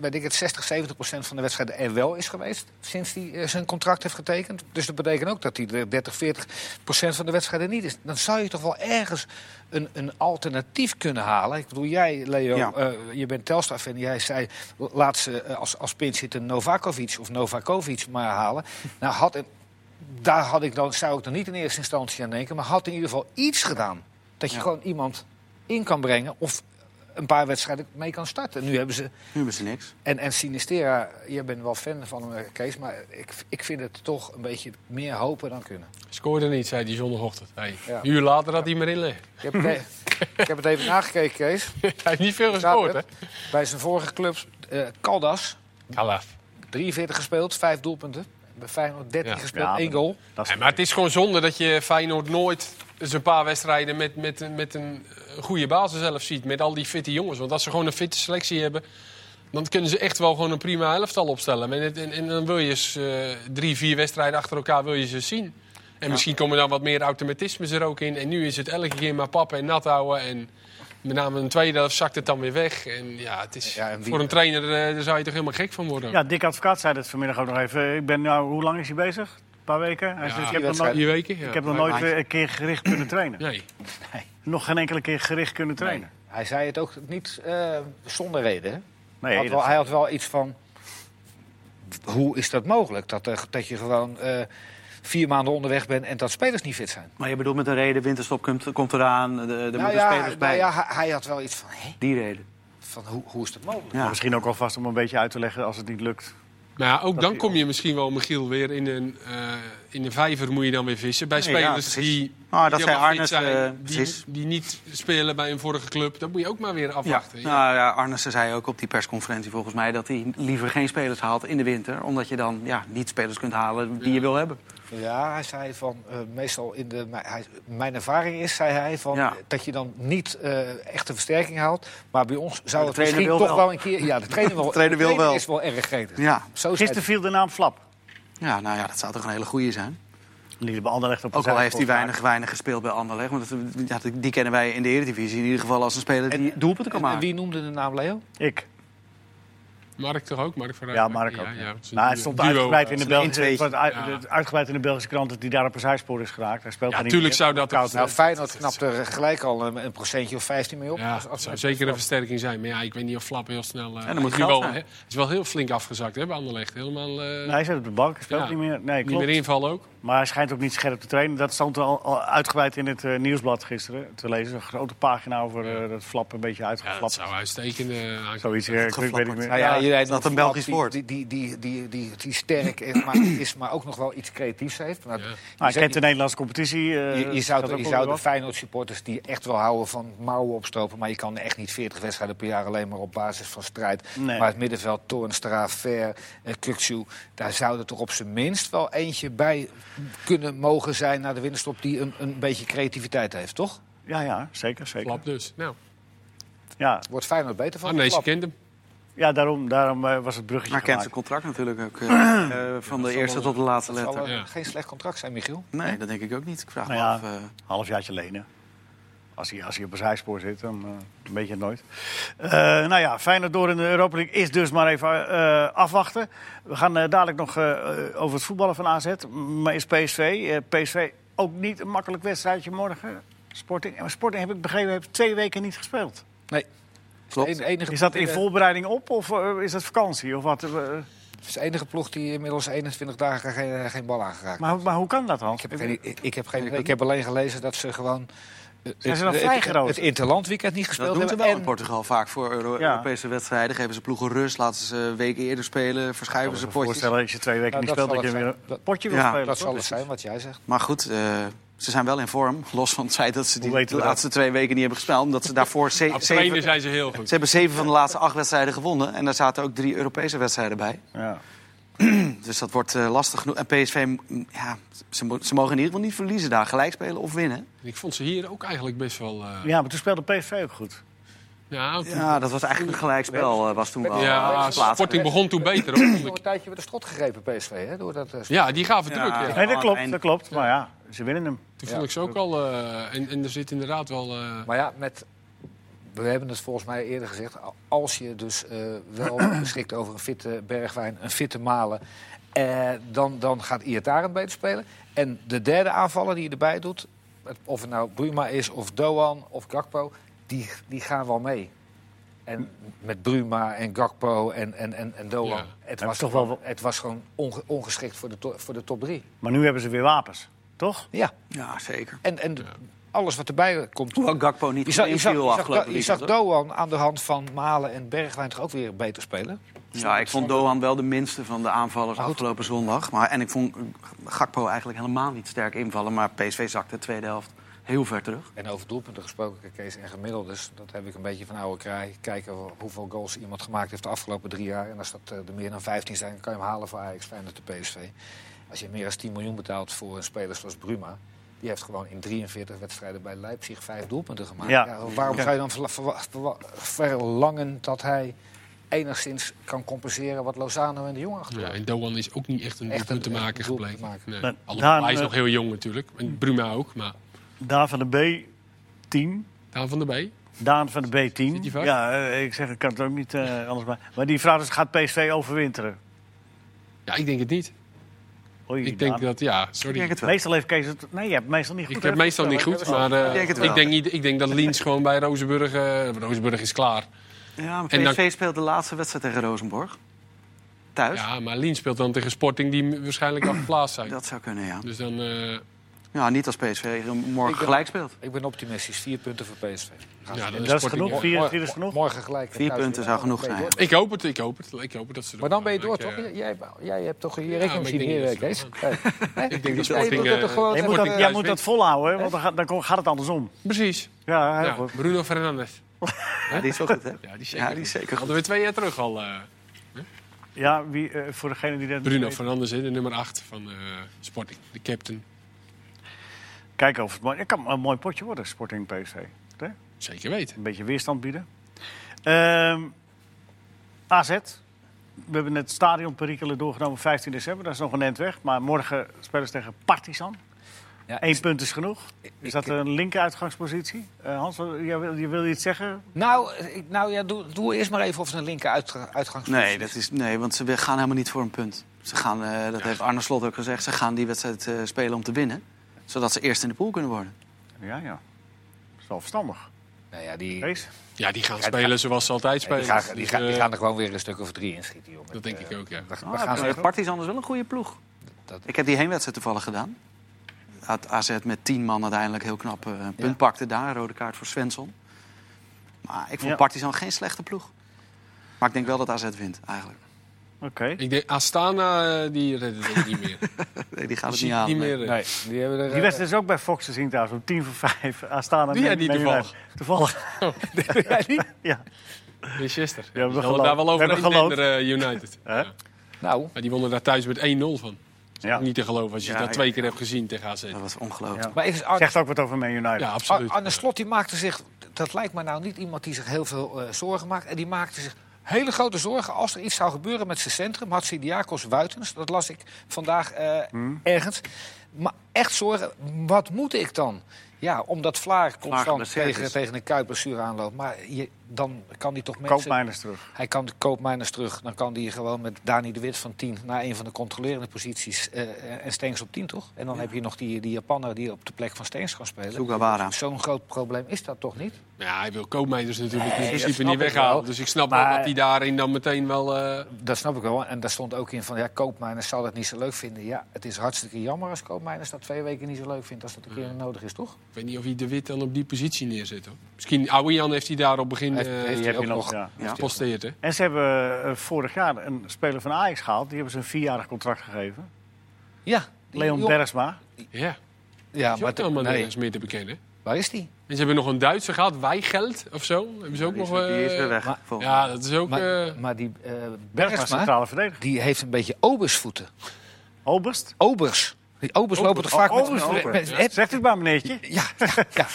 Speaker 4: weet ik het, 60, 70 procent van de wedstrijden er wel is geweest. Sinds hij eh, zijn contract heeft getekend. Dus dat betekent ook dat hij er 30, 40 procent van de wedstrijden niet is. Dan zou je toch wel ergens een, een alternatief kunnen halen. Ik bedoel, jij Leo,
Speaker 2: Ja.
Speaker 4: eh, je bent Telstar-fan. Jij zei laatst eh, als, als pin zitten Novakovic of Novakovic maar halen. Nou, had, een- daar had ik dan, zou ik dan niet in eerste instantie aan denken. Maar had in ieder geval iets gedaan. Dat je
Speaker 2: Ja.
Speaker 4: gewoon iemand in kan brengen of een paar wedstrijden mee kan starten. Nu hebben ze...
Speaker 2: Nu hebben ze niks.
Speaker 4: En, en Sinistera, jij bent wel fan van hem, eh, Kees. Maar ik, ik vind het toch een beetje meer hopen dan kunnen.
Speaker 3: Scoorde niet, zei hij zondagochtend. Hey,
Speaker 4: Ja.
Speaker 3: Een uur later had hij maar inleggen.
Speaker 4: Ik heb, het e- ik heb het even nagekeken, Kees.
Speaker 3: hij heeft niet veel gescoord, hè?
Speaker 4: Zaterdag, Bij zijn vorige club, eh Caldas,
Speaker 3: Kalaf.
Speaker 4: 43 gespeeld, 5 doelpunten. Bij Feyenoord 13
Speaker 3: Ja.
Speaker 4: gespeeld,
Speaker 1: Ja,
Speaker 4: 1
Speaker 1: maar-
Speaker 4: goal.
Speaker 1: Dat is-
Speaker 3: maar het is gewoon zonde dat je Feyenoord nooit eens een paar wedstrijden met, met, met een eh, goede basis zelf ziet. Met al die fitte jongens. Want als ze gewoon een fitte selectie hebben, dan kunnen ze echt wel gewoon een prima elftal opstellen. En, het- en, en dan wil je eens, eh, drie, vier wedstrijden achter elkaar wil je ze zien. En misschien komen dan wat meer automatismes er ook in. En nu is het elke keer maar pappen en nat houden. En met name een tweede helft zakt het dan weer weg. En ja, het is
Speaker 4: Ja, en wie-
Speaker 3: voor een trainer eh, daar zou je toch helemaal gek van worden.
Speaker 1: Ja, Dick Advocaat zei dat vanmiddag ook nog even. Ik ben nou, hoe lang is hij bezig? Een paar weken? Hij
Speaker 3: Ja,
Speaker 1: zegt, ik,
Speaker 3: die
Speaker 1: heb nog nooit,
Speaker 3: Vier weken? Ja.
Speaker 1: ik heb nog
Speaker 2: Ja,
Speaker 1: nooit
Speaker 2: maandje.
Speaker 1: eh, een keer gericht kunnen trainen.
Speaker 3: Nee.
Speaker 1: Nog geen enkele keer gericht kunnen trainen.
Speaker 4: Nee, Hij zei het ook niet eh, zonder reden. hè.
Speaker 1: Nee,
Speaker 4: Had wel-
Speaker 1: dat-
Speaker 4: hij had wel iets van... Hoe is dat mogelijk? Dat, er- dat je gewoon eh, vier maanden onderweg bent en dat spelers niet fit zijn.
Speaker 2: Maar je bedoelt met een reden, winterstop komt, komt eraan, de- er
Speaker 4: Nou
Speaker 2: moeten
Speaker 4: ja,
Speaker 2: spelers
Speaker 4: nou
Speaker 2: bij.
Speaker 4: ja, hij, hij had wel iets van... Hé,
Speaker 2: Die reden.
Speaker 4: van hoe, hoe is dat mogelijk?
Speaker 1: Maar
Speaker 2: Ja. Nou,
Speaker 1: Misschien ook alvast om een beetje uit te leggen als het niet lukt.
Speaker 3: Nou ja, ook dan kom je misschien wel, Michiel, weer in een, eh, in een vijver moet je dan weer vissen. Bij
Speaker 2: Nee, ja,
Speaker 3: spelers
Speaker 2: precies.
Speaker 3: die,
Speaker 2: Ah, dat
Speaker 3: die
Speaker 2: zei
Speaker 3: helemaal fit
Speaker 2: Arnes, eh,
Speaker 3: die,
Speaker 2: precies.
Speaker 3: die niet spelen bij een vorige club. Dat moet je ook maar weer
Speaker 2: Ja.
Speaker 3: afwachten. Ja.
Speaker 2: Nou ja, Arnesen zei ook op die persconferentie volgens mij... dat hij liever geen spelers haalt in de winter. Omdat je dan ja, niet spelers kunt halen die je wil hebben.
Speaker 4: Ja, hij zei van, eh, meestal in de... mijn- Hij, mijn ervaring is, zei hij, van,
Speaker 2: Ja.
Speaker 4: dat je dan niet eh echt een versterking haalt. Maar bij ons zou het
Speaker 2: trainer
Speaker 4: misschien
Speaker 2: wil
Speaker 4: toch wel.
Speaker 2: wel.
Speaker 4: een keer... Ja, de trainer, wel, de
Speaker 2: trainer wil wel.
Speaker 4: is wel erg gretig.
Speaker 2: Ja.
Speaker 4: Zo zei
Speaker 1: Gisteren viel de naam Flap.
Speaker 2: ja, nou ja, dat zou toch een hele goede zijn.
Speaker 1: Liet bij Anderlecht op de
Speaker 2: Ook al
Speaker 1: zijkant
Speaker 2: heeft hij
Speaker 1: staan.
Speaker 2: weinig, weinig gespeeld bij Anderlecht. Want dat- ja, die kennen wij in de Eredivisie in ieder geval als een speler die doelpunten kan
Speaker 4: En- en
Speaker 2: maken.
Speaker 4: wie noemde de naam Leo?
Speaker 1: Ik.
Speaker 3: Mark toch ook? Mark van
Speaker 1: Ja,
Speaker 3: Rijn.
Speaker 1: Mark ook.
Speaker 3: ja, het is een
Speaker 1: nou, het
Speaker 3: duo.
Speaker 1: stond
Speaker 3: Duo.
Speaker 1: uitgebreid in, de
Speaker 2: een
Speaker 1: Belgische, het
Speaker 2: intweetje.
Speaker 1: wordt uit-
Speaker 3: Ja.
Speaker 1: het- uitgebreid in de Belgische krant dat hij daar op een zijspoor is geraakt. Hij speelt
Speaker 3: Ja,
Speaker 1: er niet
Speaker 3: tuurlijk
Speaker 1: meer.
Speaker 3: zou dat-
Speaker 1: Koud.
Speaker 4: Nou, Feyenoord knapt er gelijk al een, een procentje of 15 mee op.
Speaker 3: Ja,
Speaker 4: Als-
Speaker 3: het
Speaker 4: als-
Speaker 3: zou zeker een versterking zijn. Maar ja, ik weet niet of Flap heel snel... eh,
Speaker 2: dan
Speaker 3: hij
Speaker 2: moet
Speaker 3: is nu
Speaker 2: geld
Speaker 3: wel,
Speaker 2: zijn.
Speaker 3: hè, Het is wel heel flink afgezakt hè, bij Anderlecht. Helemaal eh,
Speaker 1: Nee, hij zit op de bank, speelt
Speaker 3: Ja.
Speaker 1: niet meer. Nee,
Speaker 3: niet
Speaker 1: klopt.
Speaker 3: meer invallen ook.
Speaker 1: Maar hij schijnt ook niet scherp te trainen. Dat stond al, al uitgebreid in het eh, nieuwsblad gisteren te lezen. Een grote pagina over eh, dat flap een beetje
Speaker 3: Ja, dat
Speaker 1: uitgeflapt.
Speaker 3: zou uitstekend eh, aankomen.
Speaker 1: Zoiets, eh, ik weet- ik weet niet meer.
Speaker 4: Nou ja,
Speaker 1: Ja,
Speaker 4: je je rijdt
Speaker 2: dat
Speaker 4: een
Speaker 2: een
Speaker 4: voetbal
Speaker 2: Belgisch
Speaker 4: die-
Speaker 2: woord?
Speaker 4: Die, die, die, die, die, die sterk is maar, is, maar ook nog wel iets creatiefs heeft. Maar
Speaker 1: Nou,
Speaker 4: je,
Speaker 1: ik kent de Nederlandse competitie. eh,
Speaker 4: je, je
Speaker 1: dat
Speaker 4: zou,
Speaker 1: ook
Speaker 4: je
Speaker 1: wel
Speaker 4: zou de
Speaker 1: wat.
Speaker 4: Feyenoord supporters die echt wel houden van mouwen opstropen... maar je kan echt niet 40 wedstrijden per jaar alleen maar op basis van strijd.
Speaker 1: Nee.
Speaker 4: Maar het middenveld, Toornstra, Ver, eh, Kukçu... daar zou er toch op zijn minst wel eentje bij kunnen mogen zijn... naar de winterstop die een, een beetje creativiteit heeft, toch?
Speaker 1: Ja, ja, zeker, zeker.
Speaker 3: Klap dus. Nou,
Speaker 1: Ja,
Speaker 4: Wordt Feyenoord beter van?
Speaker 3: Arnees, je
Speaker 4: Klap.
Speaker 3: kent hem.
Speaker 1: ja, daarom, daarom eh, was het bruggetje
Speaker 2: Maar kent
Speaker 1: gemaakt.
Speaker 2: zijn contract natuurlijk ook. eh, eh, van de eerste tot de laatste
Speaker 4: Dat zal
Speaker 2: letter.
Speaker 4: eh,
Speaker 3: Ja.
Speaker 4: geen slecht contract zijn, Michiel.
Speaker 2: Nee, dat denk ik ook niet. Ik vraag
Speaker 1: Nou
Speaker 2: me
Speaker 1: ja.
Speaker 2: af. eh,
Speaker 1: halfjaartje lenen. Als hij, als hij op een zijspoor zit, dan eh weet je het nooit. Eh, nou ja, Feyenoord door in de Europa League is dus maar even eh, afwachten. We gaan eh, dadelijk nog eh, eh, over het voetballen van AZ. Maar is PSV, eh, PSV ook niet een makkelijk wedstrijdje morgen? Sporting, maar Sporting heb ik begrepen, heeft twee weken niet gespeeld.
Speaker 4: Nee.
Speaker 2: Klopt.
Speaker 4: Het is de enige
Speaker 1: Is dat
Speaker 4: ploeg
Speaker 1: in
Speaker 4: die-
Speaker 1: voorbereiding op of eh, is dat vakantie? Of wat? Eh,
Speaker 4: Het is de enige ploeg die inmiddels 21 dagen geen, eh, geen bal aangeraakt.
Speaker 1: maar, maar hoe kan dat dan?
Speaker 4: ik, heb geen, ik, ik heb geen,
Speaker 2: Ik ook
Speaker 4: ik heb alleen gelezen dat ze gewoon... eh,
Speaker 1: Zijn ze dan
Speaker 4: het-
Speaker 1: vrijgeroosterd?
Speaker 4: het, het interlandweekend niet
Speaker 2: Dat
Speaker 4: gespeeld
Speaker 2: doen ze
Speaker 4: hebben.
Speaker 2: wel in
Speaker 4: en-
Speaker 2: Portugal vaak voor Euro-
Speaker 1: Ja.
Speaker 2: Europese wedstrijden. Geven ze ploegen rust, laten ze een week eerder spelen,
Speaker 1: Ik
Speaker 2: verschuiven
Speaker 1: kan
Speaker 2: ze
Speaker 1: me
Speaker 2: potjes.
Speaker 1: voorstellen dat je twee weken
Speaker 4: Nou,
Speaker 1: niet
Speaker 4: dat
Speaker 1: speelt, dat
Speaker 4: zal
Speaker 1: je
Speaker 4: het
Speaker 1: weer
Speaker 4: zijn.
Speaker 1: een potje wil
Speaker 2: Ja,
Speaker 1: spelen.
Speaker 4: dat
Speaker 1: toch?
Speaker 4: zal het zijn wat jij zegt.
Speaker 2: Maar goed, eh, ze zijn wel in vorm. Los van het feit dat ze die
Speaker 1: Hoe weten
Speaker 2: de
Speaker 1: we dat?
Speaker 2: laatste twee weken niet hebben gespeeld. Omdat ze daarvoor ze-
Speaker 3: Op trainen
Speaker 2: zeven...
Speaker 3: zijn ze heel
Speaker 2: Ze
Speaker 3: goed.
Speaker 2: hebben zeven van de laatste acht wedstrijden gewonnen. En daar zaten ook drie Europese wedstrijden bij.
Speaker 1: Ja.
Speaker 2: Dus dat wordt eh, lastig genoeg. En PSV, mm, ja, ze, mo- ze mogen in ieder geval niet verliezen daar. Gelijk spelen of winnen.
Speaker 3: Ik vond ze hier ook eigenlijk best wel... eh,
Speaker 1: ja, maar toen speelde PSV ook goed.
Speaker 3: ja, toen-
Speaker 2: Ja, dat was eigenlijk een gelijkspel. eh, was toen wel
Speaker 3: ja,
Speaker 2: eh, plaats.
Speaker 3: Sporting begon toen beter, hoor, vond
Speaker 4: Nog
Speaker 3: ik.
Speaker 4: een tijdje weer de strot gegrepen, PSV. Hè? Door dat, eh,
Speaker 3: Ja, die gaven
Speaker 2: Ja.
Speaker 3: druk. Ja.
Speaker 1: Nee, dat
Speaker 2: Aan het
Speaker 1: klopt,
Speaker 2: eind-
Speaker 1: dat klopt. Maar ja, ze winnen hem.
Speaker 3: Toen
Speaker 4: Ja.
Speaker 3: vond ik ze ook al... eh, en, en er zit inderdaad wel... eh,
Speaker 4: Maar ja, met, we hebben het volgens mij eerder gezegd. a- Als je dus eh, wel beschikt over een fitte Bergwijn, een fitte Malen... eh, dan, dan gaat Iataren beter spelen. En de derde aanvaller die je erbij doet... het- of het nou Bruma is, of Doan, of Gakpo... die, die gaan wel mee. En met Bruma en Gakpo en, en, en, en Doan.
Speaker 3: Ja.
Speaker 4: Het,
Speaker 1: Maar
Speaker 4: was
Speaker 1: toch
Speaker 4: toch
Speaker 1: wel-
Speaker 4: wel... het was gewoon onge- ongeschikt voor de, to- voor de top drie.
Speaker 1: Maar nu hebben ze weer wapens, toch?
Speaker 4: Ja,
Speaker 2: Ja, zeker.
Speaker 4: en, en alles wat erbij komt...
Speaker 2: Hoewel Gakpo niet
Speaker 4: Je zag, je,
Speaker 2: meeviel
Speaker 4: zag, je, zag,
Speaker 2: afgelopen
Speaker 4: je zag
Speaker 2: weekend, hoor.
Speaker 4: Doan aan de hand van Malen en Bergwijn toch ook weer beter spelen.
Speaker 2: Ja, ik vond Doan wel de minste van de aanvallers afgelopen zondag. Maar, en ik vond Gakpo eigenlijk helemaal niet sterk invallen. Maar PSV zakte de tweede helft heel ver terug.
Speaker 4: En over doelpunten gesproken, Kees, en gemiddeldes. Dat heb ik een beetje van oude kraai. Kijken wel hoeveel goals iemand gemaakt heeft de afgelopen drie jaar. En als dat eh, er meer dan 15 zijn, dan kan je hem halen voor Ajax, Feyenoord de PSV. Als je meer dan 10 miljoen betaalt voor een speler zoals Bruma... die heeft gewoon in 43 wedstrijden bij Leipzig vijf doelpunten gemaakt.
Speaker 1: Ja.
Speaker 4: Ja. waarom zou je dan verla- verwa- verwa- verlangen dat hij enigszins kan compenseren... wat Lozano en de Jong achter
Speaker 3: Ja, en Doan is ook niet echt een
Speaker 4: Echt een-
Speaker 3: doelpunt te maken
Speaker 4: een doelpunt
Speaker 3: gebleken.
Speaker 4: maken.
Speaker 3: Nee.
Speaker 1: Dan-
Speaker 3: Alhoewel,
Speaker 1: dan,
Speaker 3: hij is
Speaker 1: eh,
Speaker 3: nog heel jong natuurlijk. En Bruma ook, maar
Speaker 1: Daan van de B10.
Speaker 3: Daan van der B.
Speaker 1: Daan van de B10.
Speaker 3: Zit die vast?
Speaker 1: Ja, eh, ik zeg, ik kan het ook niet eh, anders maken. Maar die vraag is, gaat PSV overwinteren?
Speaker 3: Ja, ik denk het niet.
Speaker 1: Oei,
Speaker 3: Ik denk
Speaker 1: Daan.
Speaker 3: dat, ja, sorry.
Speaker 2: Ik denk het wel.
Speaker 1: Meestal heeft Kees het... Nee, je hebt meestal niet goed.
Speaker 3: Ik
Speaker 1: hè?
Speaker 3: heb meestal niet goed, maar eh,
Speaker 2: denk het wel.
Speaker 3: ik, denk niet, ik denk dat Liens gewoon bij Rozenburg... eh, Rozenburg is klaar.
Speaker 2: Ja, maar
Speaker 3: En dan-
Speaker 2: PSV speelt de laatste wedstrijd tegen Rosenborg. Thuis.
Speaker 3: Ja, maar Liens speelt dan tegen Sporting die m- waarschijnlijk al geplaatst zijn.
Speaker 2: Dat zou kunnen, ja.
Speaker 3: Dus dan... eh,
Speaker 2: Ja, niet als PSV morgen
Speaker 4: Ik ben-
Speaker 2: gelijk speelt.
Speaker 4: Ik ben optimistisch. Vier punten voor PSV. Gaan ze
Speaker 3: ja, dan
Speaker 4: winnen.
Speaker 1: Dat is
Speaker 3: Sporting
Speaker 1: genoeg.
Speaker 3: wel.
Speaker 1: Vier,
Speaker 4: Mor-
Speaker 1: vier is
Speaker 4: mor-
Speaker 1: genoeg.
Speaker 4: Morgen gelijk. en
Speaker 2: Vier
Speaker 4: thuis
Speaker 2: punten
Speaker 4: winnen.
Speaker 2: zou genoeg
Speaker 4: Dan ben je
Speaker 2: zijn.
Speaker 4: door.
Speaker 3: Ik hoop het, ik hoop het. Ik hoop het dat ze
Speaker 4: Maar dan ben je door,
Speaker 3: doorgaan.
Speaker 4: toch?
Speaker 3: Ik, eh,
Speaker 4: Jij, jij hebt toch je
Speaker 3: maar
Speaker 4: rekening
Speaker 3: ik
Speaker 4: zien
Speaker 3: denk
Speaker 4: hier, eh,
Speaker 3: niet dat
Speaker 4: Kees?
Speaker 3: ze
Speaker 4: Nee. Nee?
Speaker 3: ik denk dat
Speaker 4: Ja, je
Speaker 3: Sporting...
Speaker 4: moet dat
Speaker 3: eh,
Speaker 4: toch gewoon-
Speaker 1: Jij moet
Speaker 3: Sporting
Speaker 1: dat, jij
Speaker 3: thuis
Speaker 1: moet
Speaker 3: wint.
Speaker 1: dat volhouden, hè, want dan gaat, dan ko- gaat het andersom.
Speaker 3: Precies.
Speaker 1: Ja, heel
Speaker 3: Ja,
Speaker 1: goed.
Speaker 3: Bruno Fernandes.
Speaker 2: Ja, die is wel goed, hè?
Speaker 3: Ja, die is
Speaker 2: Ja,
Speaker 3: zeker
Speaker 2: die is
Speaker 3: goed.
Speaker 2: zeker goed.
Speaker 3: Hadden we twee jaar terug al... eh,
Speaker 1: Ja, wie, eh, voor degene die dat niet
Speaker 3: Bruno
Speaker 1: weet.
Speaker 3: Fernandes, hè, de nummer 8 van eh, Sporting, de captain.
Speaker 1: Kijk of het mooi... Het kan een mooi potje worden, Sporting PSV. Hè?
Speaker 3: Zeker weten.
Speaker 1: een beetje weerstand bieden. Ehm, AZ. We hebben het stadion perikelen doorgenomen 15 december. Dat is nog een eind weg. Maar morgen spelen ze tegen Partizan.
Speaker 4: Ja,
Speaker 1: Eén punt is genoeg. Is
Speaker 4: ik-
Speaker 1: dat een linker uitgangspositie? Eh, Hans, wat- jij wil, je wilde iets zeggen?
Speaker 4: Nou, ik- nou ja, doe, doe eerst maar even of het een linker uit, uitgangspunt
Speaker 2: Nee, dat is, nee, want ze gaan helemaal niet voor een punt. Ze gaan, eh, dat heeft Arne Slot ook gezegd, ze gaan die wedstrijd eh, spelen om te winnen. Zodat ze eerst in de pool kunnen worden.
Speaker 1: Ja, ja. Dat is wel verstandig.
Speaker 4: Nou ja, die, die,
Speaker 1: Kees?
Speaker 3: Ja, die gaan
Speaker 4: die
Speaker 3: spelen zoals ze altijd spelen.
Speaker 4: gaan, die,
Speaker 3: Dus,
Speaker 4: gaan, die
Speaker 3: eh,
Speaker 4: gaan er gewoon weer een stuk of drie in schieten, jongen.
Speaker 3: Dat denk ik ook, ja.
Speaker 4: Dan,
Speaker 2: Ah,
Speaker 4: dan gaan ze
Speaker 2: eh, Partizan is wel een goede ploeg.
Speaker 4: Dat-
Speaker 2: Ik heb die heenwedstrijd toevallig gedaan. Had AZ met tien man uiteindelijk heel knap eh, een punt pakte daar. Rode kaart voor Svensson. Maar ik vond
Speaker 1: Ja.
Speaker 2: Partizan geen slechte ploeg. Maar ik denk wel dat AZ wint, eigenlijk.
Speaker 1: Oké.
Speaker 3: Ik denk, Astana, eh, die redden het niet meer.
Speaker 2: Nee, die
Speaker 3: Die
Speaker 2: gaat het
Speaker 3: zie
Speaker 2: niet
Speaker 3: ik
Speaker 2: halen.
Speaker 3: niet
Speaker 2: nee.
Speaker 3: meer. eh.
Speaker 5: Nee, die hebben er...
Speaker 1: Die wedstrijd is ook bij Fox te zien trouwens, om tien voor vijf. Aanstaan
Speaker 3: Doe jij die toevallig?
Speaker 1: Toevallig,
Speaker 5: Ja, die-
Speaker 1: ja.
Speaker 3: Manchester.
Speaker 1: hebben
Speaker 3: Die
Speaker 1: geloofd.
Speaker 3: hadden daar wel
Speaker 1: We
Speaker 3: over
Speaker 1: hebben geloofd.
Speaker 3: United.
Speaker 1: Hè?
Speaker 3: Ja.
Speaker 4: Nou,
Speaker 3: Maar die wonnen daar thuis met 1-0 van.
Speaker 1: ja.
Speaker 3: Niet te geloven als je
Speaker 2: Ja,
Speaker 3: dat
Speaker 2: ja,
Speaker 3: twee keer hebt gezien tegen AZ.
Speaker 2: Dat was ongelooflijk.
Speaker 1: Ja.
Speaker 4: maar even, Ar-
Speaker 1: Zegt ook wat over Man United.
Speaker 3: Ja,
Speaker 1: Ja.
Speaker 3: absoluut.
Speaker 4: Ar- Arne Slot die maakte zich, dat lijkt me nou niet iemand die zich heel veel eh, zorgen maakt. En die maakte zich hele grote zorgen als er iets zou gebeuren met zijn centrum. Had Sidiakos Wuitens, dat las ik vandaag eh, ergens. Maar echt zorgen, wat moet ik dan? Ja, omdat Vlaar constant
Speaker 2: geblesseerd
Speaker 4: tegen,
Speaker 2: is.
Speaker 4: tegen een kuitblessure aanloopt. Maar je, dan kan hij toch mensen...
Speaker 1: Koopmijners terug.
Speaker 4: Hij kan de koopmijners terug. Dan kan hij gewoon met Dani de Wit van 10 naar een van de controlerende posities. eh, en Stengs op 10 toch? En dan heb je nog die, die Japaner die op de plek van Stengs gaat spelen.
Speaker 2: Sugawara.
Speaker 4: Zo'n groot probleem is dat toch niet?
Speaker 3: Nou Ja, hij wil koopmeters natuurlijk in
Speaker 4: dat
Speaker 3: principe
Speaker 4: snap
Speaker 3: niet
Speaker 4: ik
Speaker 3: weghalen.
Speaker 4: wel.
Speaker 3: Dus ik snap wel
Speaker 4: Maar-
Speaker 3: dat hij daarin dan meteen wel... eh,
Speaker 4: Dat snap ik wel. En daar stond ook in van ja, koopmijners zou dat niet zo leuk vinden. Ja, het is hartstikke jammer als koopmijners dat twee weken niet zo leuk vindt als dat een keer nodig is, toch?
Speaker 3: ik weet niet of hij de Wit dan op die positie neerzet. Hoor. Misschien Aouian heeft hij daar op begin
Speaker 4: Heeft-
Speaker 3: eh,
Speaker 4: heeft
Speaker 1: Die
Speaker 4: hij
Speaker 1: heb je
Speaker 4: ook
Speaker 1: nog,
Speaker 4: nog.
Speaker 1: ja.
Speaker 2: Ja.
Speaker 3: geposteerd. Hè?
Speaker 1: En ze hebben eh, vorig jaar een speler van Ajax gehaald. Die hebben ze een vierjarig contract gegeven.
Speaker 4: Ja. die
Speaker 1: Leon
Speaker 4: jong-
Speaker 1: Bergsma.
Speaker 3: Ja,
Speaker 4: Ja,
Speaker 3: maar
Speaker 4: maar
Speaker 3: is ook
Speaker 4: te-
Speaker 3: allemaal
Speaker 4: nee.
Speaker 3: nergens meer te bekennen.
Speaker 4: Waar is die?
Speaker 3: En ze hebben nog een Duitser gehad, Weigeld of zo. Hebben ze ook
Speaker 2: Die is,
Speaker 3: nog... eh,
Speaker 2: die is weer weg.
Speaker 4: maar-
Speaker 2: volgens mij.
Speaker 3: Ja, dat is ook...
Speaker 4: Maar,
Speaker 3: eh,
Speaker 4: maar die eh,
Speaker 1: Bergsma,
Speaker 4: Bergsma,
Speaker 1: centrale verdediger.
Speaker 4: die heeft een beetje obersvoeten.
Speaker 1: Oberst?
Speaker 4: Obers. Die obers lopen toch
Speaker 1: Oh,
Speaker 4: vaak met-
Speaker 1: Oberst.
Speaker 4: met... met- met-
Speaker 1: Zegt het maar, meneertje.
Speaker 4: ja, ja.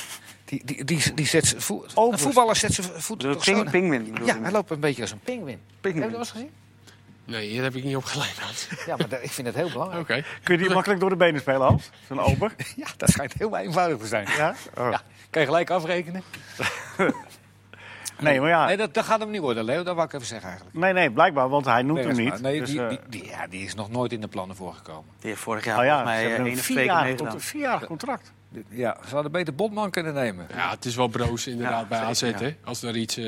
Speaker 4: Die, die, die, die zet zijn voet...
Speaker 1: Obers.
Speaker 4: Een voetballer zet zijn voet
Speaker 2: De
Speaker 4: toch zo...
Speaker 2: ping, pingwin. bedoel
Speaker 4: Ja,
Speaker 2: je?
Speaker 4: hij loopt een beetje als een pinguïn. Heb je
Speaker 2: Pinguïn.
Speaker 4: dat wel eens gezien?
Speaker 3: Nee, hier heb ik niet op gelijk.
Speaker 4: Ja, maar dat- ik vind het heel
Speaker 3: Oké.
Speaker 4: belangrijk.
Speaker 1: Kun je die makkelijk door de benen spelen, Hans? Zo'n ober?
Speaker 4: Ja, dat schijnt heel eenvoudig te zijn.
Speaker 1: Ja? Oh.
Speaker 4: Ja, kan je gelijk afrekenen?
Speaker 1: Nee, maar ja.
Speaker 4: Nee, dat, dat gaat hem niet worden, Leo. Dat wou ik even zeggen eigenlijk.
Speaker 1: Nee, nee, blijkbaar, want hij noemt
Speaker 4: Nee,
Speaker 1: hem
Speaker 4: dat is
Speaker 1: niet.
Speaker 4: waar. Nee,
Speaker 1: Dus,
Speaker 4: die,
Speaker 1: eh,
Speaker 4: die, die- ja, die is nog nooit in de plannen voorgekomen.
Speaker 2: Die heeft vorig jaar
Speaker 1: oh ja,
Speaker 2: volgens
Speaker 1: ze
Speaker 2: mij
Speaker 1: hebben
Speaker 2: eh, één
Speaker 1: een
Speaker 2: of twee keer
Speaker 1: vierjarig
Speaker 2: meegedaan.
Speaker 1: cont- vierjarig contract.
Speaker 5: Ja, ze hadden beter Botman kunnen nemen.
Speaker 3: Ja, het is wel broos inderdaad
Speaker 2: Ja,
Speaker 3: bij AZ.
Speaker 2: zeker,
Speaker 3: Hè? Als er iets... eh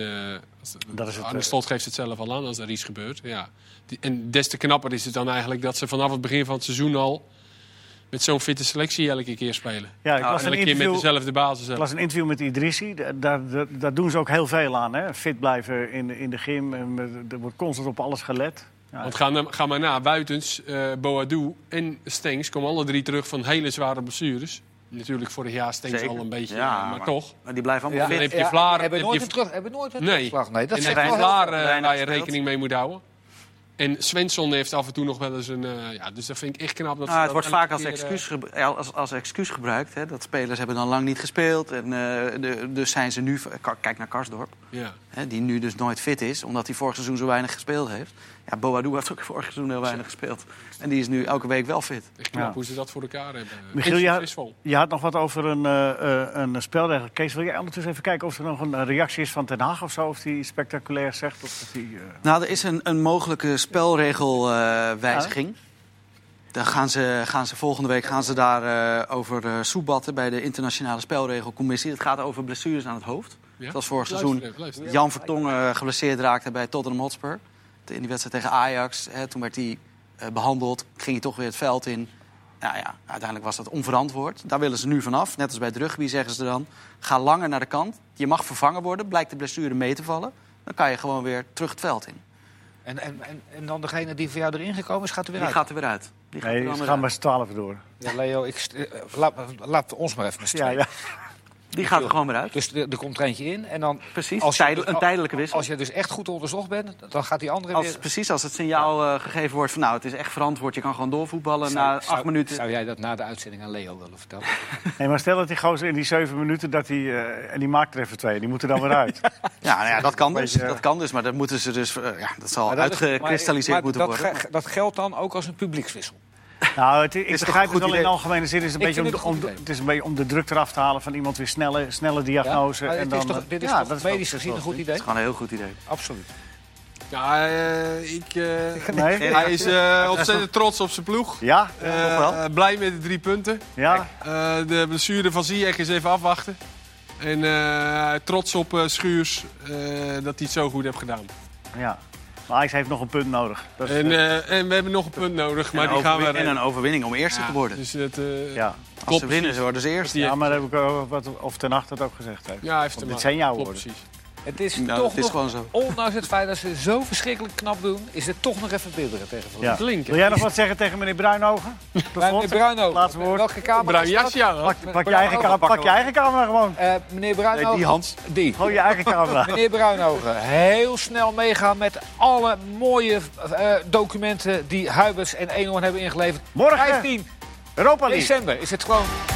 Speaker 3: als,
Speaker 1: Dat is het,
Speaker 3: Arne
Speaker 1: eh,
Speaker 3: Slot geeft het zelf al aan als er iets gebeurt. Ja. Die- En des te knapper is het dan eigenlijk dat ze vanaf het begin van het seizoen al... met zo'n fitte selectie elke keer spelen.
Speaker 1: Ja, ik
Speaker 2: Nou,
Speaker 1: las
Speaker 3: En
Speaker 1: een
Speaker 3: elke keer met
Speaker 1: interview
Speaker 3: dezelfde basis.
Speaker 1: Ik
Speaker 3: hebben.
Speaker 1: las een interview met Idrissi. Da- Daar, daar, daar doen ze ook heel veel aan. Hè? Fit blijven in, in de gym. En met- er wordt constant op alles gelet. Ja,
Speaker 3: Want ga, ga maar na, Buitens, eh Boadu en Stengs komen alle drie terug van hele zware blessures. Natuurlijk vorig jaar Stengs
Speaker 2: Zeker.
Speaker 3: al een beetje,
Speaker 2: Ja,
Speaker 3: maar,
Speaker 2: maar-
Speaker 3: toch.
Speaker 2: Maar die blijven allemaal
Speaker 3: dan
Speaker 2: fit.
Speaker 3: heb je Vlaar,
Speaker 4: Hebben
Speaker 3: heb
Speaker 4: nooit
Speaker 3: je-
Speaker 4: een terug, hebben nooit een
Speaker 3: Nee.
Speaker 4: terugslag. Nee, dat
Speaker 3: en
Speaker 4: zegt
Speaker 3: dat
Speaker 4: wel
Speaker 3: is
Speaker 4: heel
Speaker 3: klaar
Speaker 4: veel.
Speaker 3: eh,
Speaker 2: weinig
Speaker 3: waar je
Speaker 2: gespeeld.
Speaker 3: rekening mee moet houden. En Svensson heeft af en toe nog wel eens een... eh, ja, dus dat vind ik echt knap. Dat ze
Speaker 2: Ah,
Speaker 3: dat
Speaker 2: het wordt
Speaker 3: elke
Speaker 2: vaak als
Speaker 3: keer, eh,
Speaker 2: excuus, ge- ja, als, als excuus gebruikt. Hè, dat spelers hebben dan lang niet gespeeld. En, eh, de, dus zijn ze nu... k- Kijk naar Karsdorp.
Speaker 3: eh, ja.
Speaker 2: Hè, die nu dus nooit fit is, omdat hij vorig seizoen zo weinig gespeeld heeft. Ja, Boadou heeft ook vorig seizoen heel weinig gespeeld. En die is nu elke week wel fit.
Speaker 3: Echt knap
Speaker 1: Ja.
Speaker 3: hoe ze dat voor elkaar hebben.
Speaker 1: Michiel,
Speaker 3: En
Speaker 1: ja-
Speaker 3: succesvol.
Speaker 1: Je had nog wat over een, eh, eh, een spelregel. Kees, wil jij ondertussen even kijken of er nog een eh, reactie is van Ten Haag of zo? Of die iets spectaculair zegt? Of dat die, eh,
Speaker 2: Nou, er is een, een mogelijke spelregelwijziging.
Speaker 3: Ah.
Speaker 2: Dan gaan ze, gaan ze volgende week gaan ze daar eh, over eh, soebatten bij de internationale spelregelcommissie. Het gaat over blessures aan het hoofd.
Speaker 3: Ja?
Speaker 2: Dat was vorig
Speaker 3: Luister
Speaker 2: seizoen.
Speaker 3: even, luister.
Speaker 2: Jan Vertongen eh, geblesseerd raakte bij Tottenham Hotspur. In die wedstrijd tegen Ajax. Hè, toen werd hij eh, behandeld. Ging hij toch weer het veld in. Nou ja, uiteindelijk was dat onverantwoord. Daar willen ze nu vanaf. Net als bij het rugby zeggen ze dan... ga langer naar de kant. Je mag vervangen worden. Blijkt de blessure mee te vallen. Dan kan je gewoon weer terug het veld in.
Speaker 4: En, en, en, en dan degene die voor jou erin gekomen is, gaat er weer
Speaker 2: Die
Speaker 4: uit.
Speaker 2: gaat er weer uit. Die gaat er
Speaker 1: nee,
Speaker 2: dan
Speaker 1: ze
Speaker 2: weer
Speaker 1: gaan
Speaker 2: uit.
Speaker 1: maar z'n twaalf door.
Speaker 4: Ja, Leo, ik, st- eh, laat, laat ons maar even met z'n
Speaker 1: Ja,
Speaker 4: tweeën.
Speaker 1: ja.
Speaker 2: Die gaat er gewoon weer uit.
Speaker 4: Dus er, er komt er eentje in en dan...
Speaker 2: Precies.
Speaker 4: als je-
Speaker 2: Tijdel- een tijdelijke wissel.
Speaker 4: Als je dus echt goed onderzocht bent, dan gaat die andere
Speaker 2: Als,
Speaker 4: weer...
Speaker 2: precies als het signaal eh, gegeven wordt van nou, het is echt verantwoord. Je kan gewoon doorvoetballen
Speaker 4: Zou-
Speaker 2: na acht
Speaker 4: zou-
Speaker 2: minuten.
Speaker 4: Zou jij dat na de uitzending aan Leo willen vertellen?
Speaker 1: Nee, maar stel dat die gozer in die zeven minuten... Dat die, eh, en die maakt er even twee. Die moeten dan weer uit.
Speaker 2: Ja, nou ja, dat kan dus.
Speaker 1: Beetje, eh,
Speaker 2: Dat kan dus, maar dat moeten ze dus. eh, ja, dat zal
Speaker 4: Maar dat is-
Speaker 2: uitgekristalliseerd
Speaker 4: maar-
Speaker 2: moeten
Speaker 4: maar
Speaker 2: worden.
Speaker 4: dat ge- dat geldt dan ook als een publiekswissel.
Speaker 1: Nou, het, ik
Speaker 2: toch
Speaker 1: begrijp
Speaker 2: een
Speaker 1: het
Speaker 2: goed
Speaker 1: wel in
Speaker 2: idee?
Speaker 1: de algemene zin. Is het, een
Speaker 4: Ik
Speaker 1: beetje om,
Speaker 4: vind
Speaker 1: de-
Speaker 4: het
Speaker 1: om
Speaker 4: een goed
Speaker 1: de-
Speaker 4: idee.
Speaker 1: het is een beetje om de druk eraf te halen van iemand weer snelle, snelle diagnose.
Speaker 4: maar
Speaker 1: en
Speaker 4: dit
Speaker 1: dan, eh,
Speaker 4: is toch, dit is
Speaker 1: ja,
Speaker 4: toch
Speaker 1: dat ook-
Speaker 4: medisch gezien een goed
Speaker 2: Dat is
Speaker 4: idee?
Speaker 2: gewoon een heel goed idee.
Speaker 4: Absoluut.
Speaker 3: Ja, eh, ik, eh,
Speaker 1: Nee?
Speaker 3: hij is eh, ontzettend trots op zijn ploeg.
Speaker 1: Ja,
Speaker 3: Eh,
Speaker 2: nog wel.
Speaker 3: blij met de drie punten.
Speaker 1: ja.
Speaker 3: Eh, de blessure van Ziyech is even afwachten. En eh, trots op eh, Schuurs eh, dat hij het zo goed heeft gedaan.
Speaker 1: ja. Maar Ajax heeft nog een punt nodig. Dat is,
Speaker 3: En,
Speaker 1: eh,
Speaker 3: eh, en we hebben nog een punt nodig, maar
Speaker 2: en,
Speaker 3: die
Speaker 2: een
Speaker 3: gaan we...
Speaker 2: overwin- en een overwinning om eerste
Speaker 3: Ja,
Speaker 2: te worden.
Speaker 3: Dus dat, eh,
Speaker 1: ja.
Speaker 2: Als
Speaker 3: klopt
Speaker 2: ze winnen, ze worden ze eerst.
Speaker 3: die-
Speaker 1: ja, maar dat heb ik ook wat, of ten acht dat ook gezegd heeft.
Speaker 3: Ja, hij heeft hem
Speaker 1: dit
Speaker 3: aan.
Speaker 1: zijn jouw
Speaker 3: Klopt,
Speaker 1: woorden.
Speaker 3: precies.
Speaker 4: Het is
Speaker 2: Nou,
Speaker 4: toch
Speaker 2: het is
Speaker 4: nog,
Speaker 2: gewoon zo.
Speaker 4: ondanks het feit dat ze zo verschrikkelijk knap doen... is het toch nog even bibberen tegen
Speaker 1: Ja.
Speaker 4: Valencia.
Speaker 3: Klinken.
Speaker 1: Wil jij nog wat zeggen tegen meneer Bruinogen? Tot
Speaker 4: Maar
Speaker 1: slot.
Speaker 4: Meneer Bruino,
Speaker 1: Laatste woord.
Speaker 4: welke kamer
Speaker 3: Bruin
Speaker 4: is dat?
Speaker 3: jasje aan. hoor.
Speaker 1: Pak, pak, je eigen camera, pak je eigen camera gewoon.
Speaker 4: Eh, meneer Bruino,
Speaker 2: Nee, die Hans.
Speaker 4: Die.
Speaker 1: Gewoon je eigen camera.
Speaker 4: Meneer Bruinhoven, heel snel meegaan met alle mooie eh, documenten die Huibers en Eenhoorn hebben ingeleverd.
Speaker 1: Morgen.
Speaker 4: 15
Speaker 1: Europa League.
Speaker 4: december is het gewoon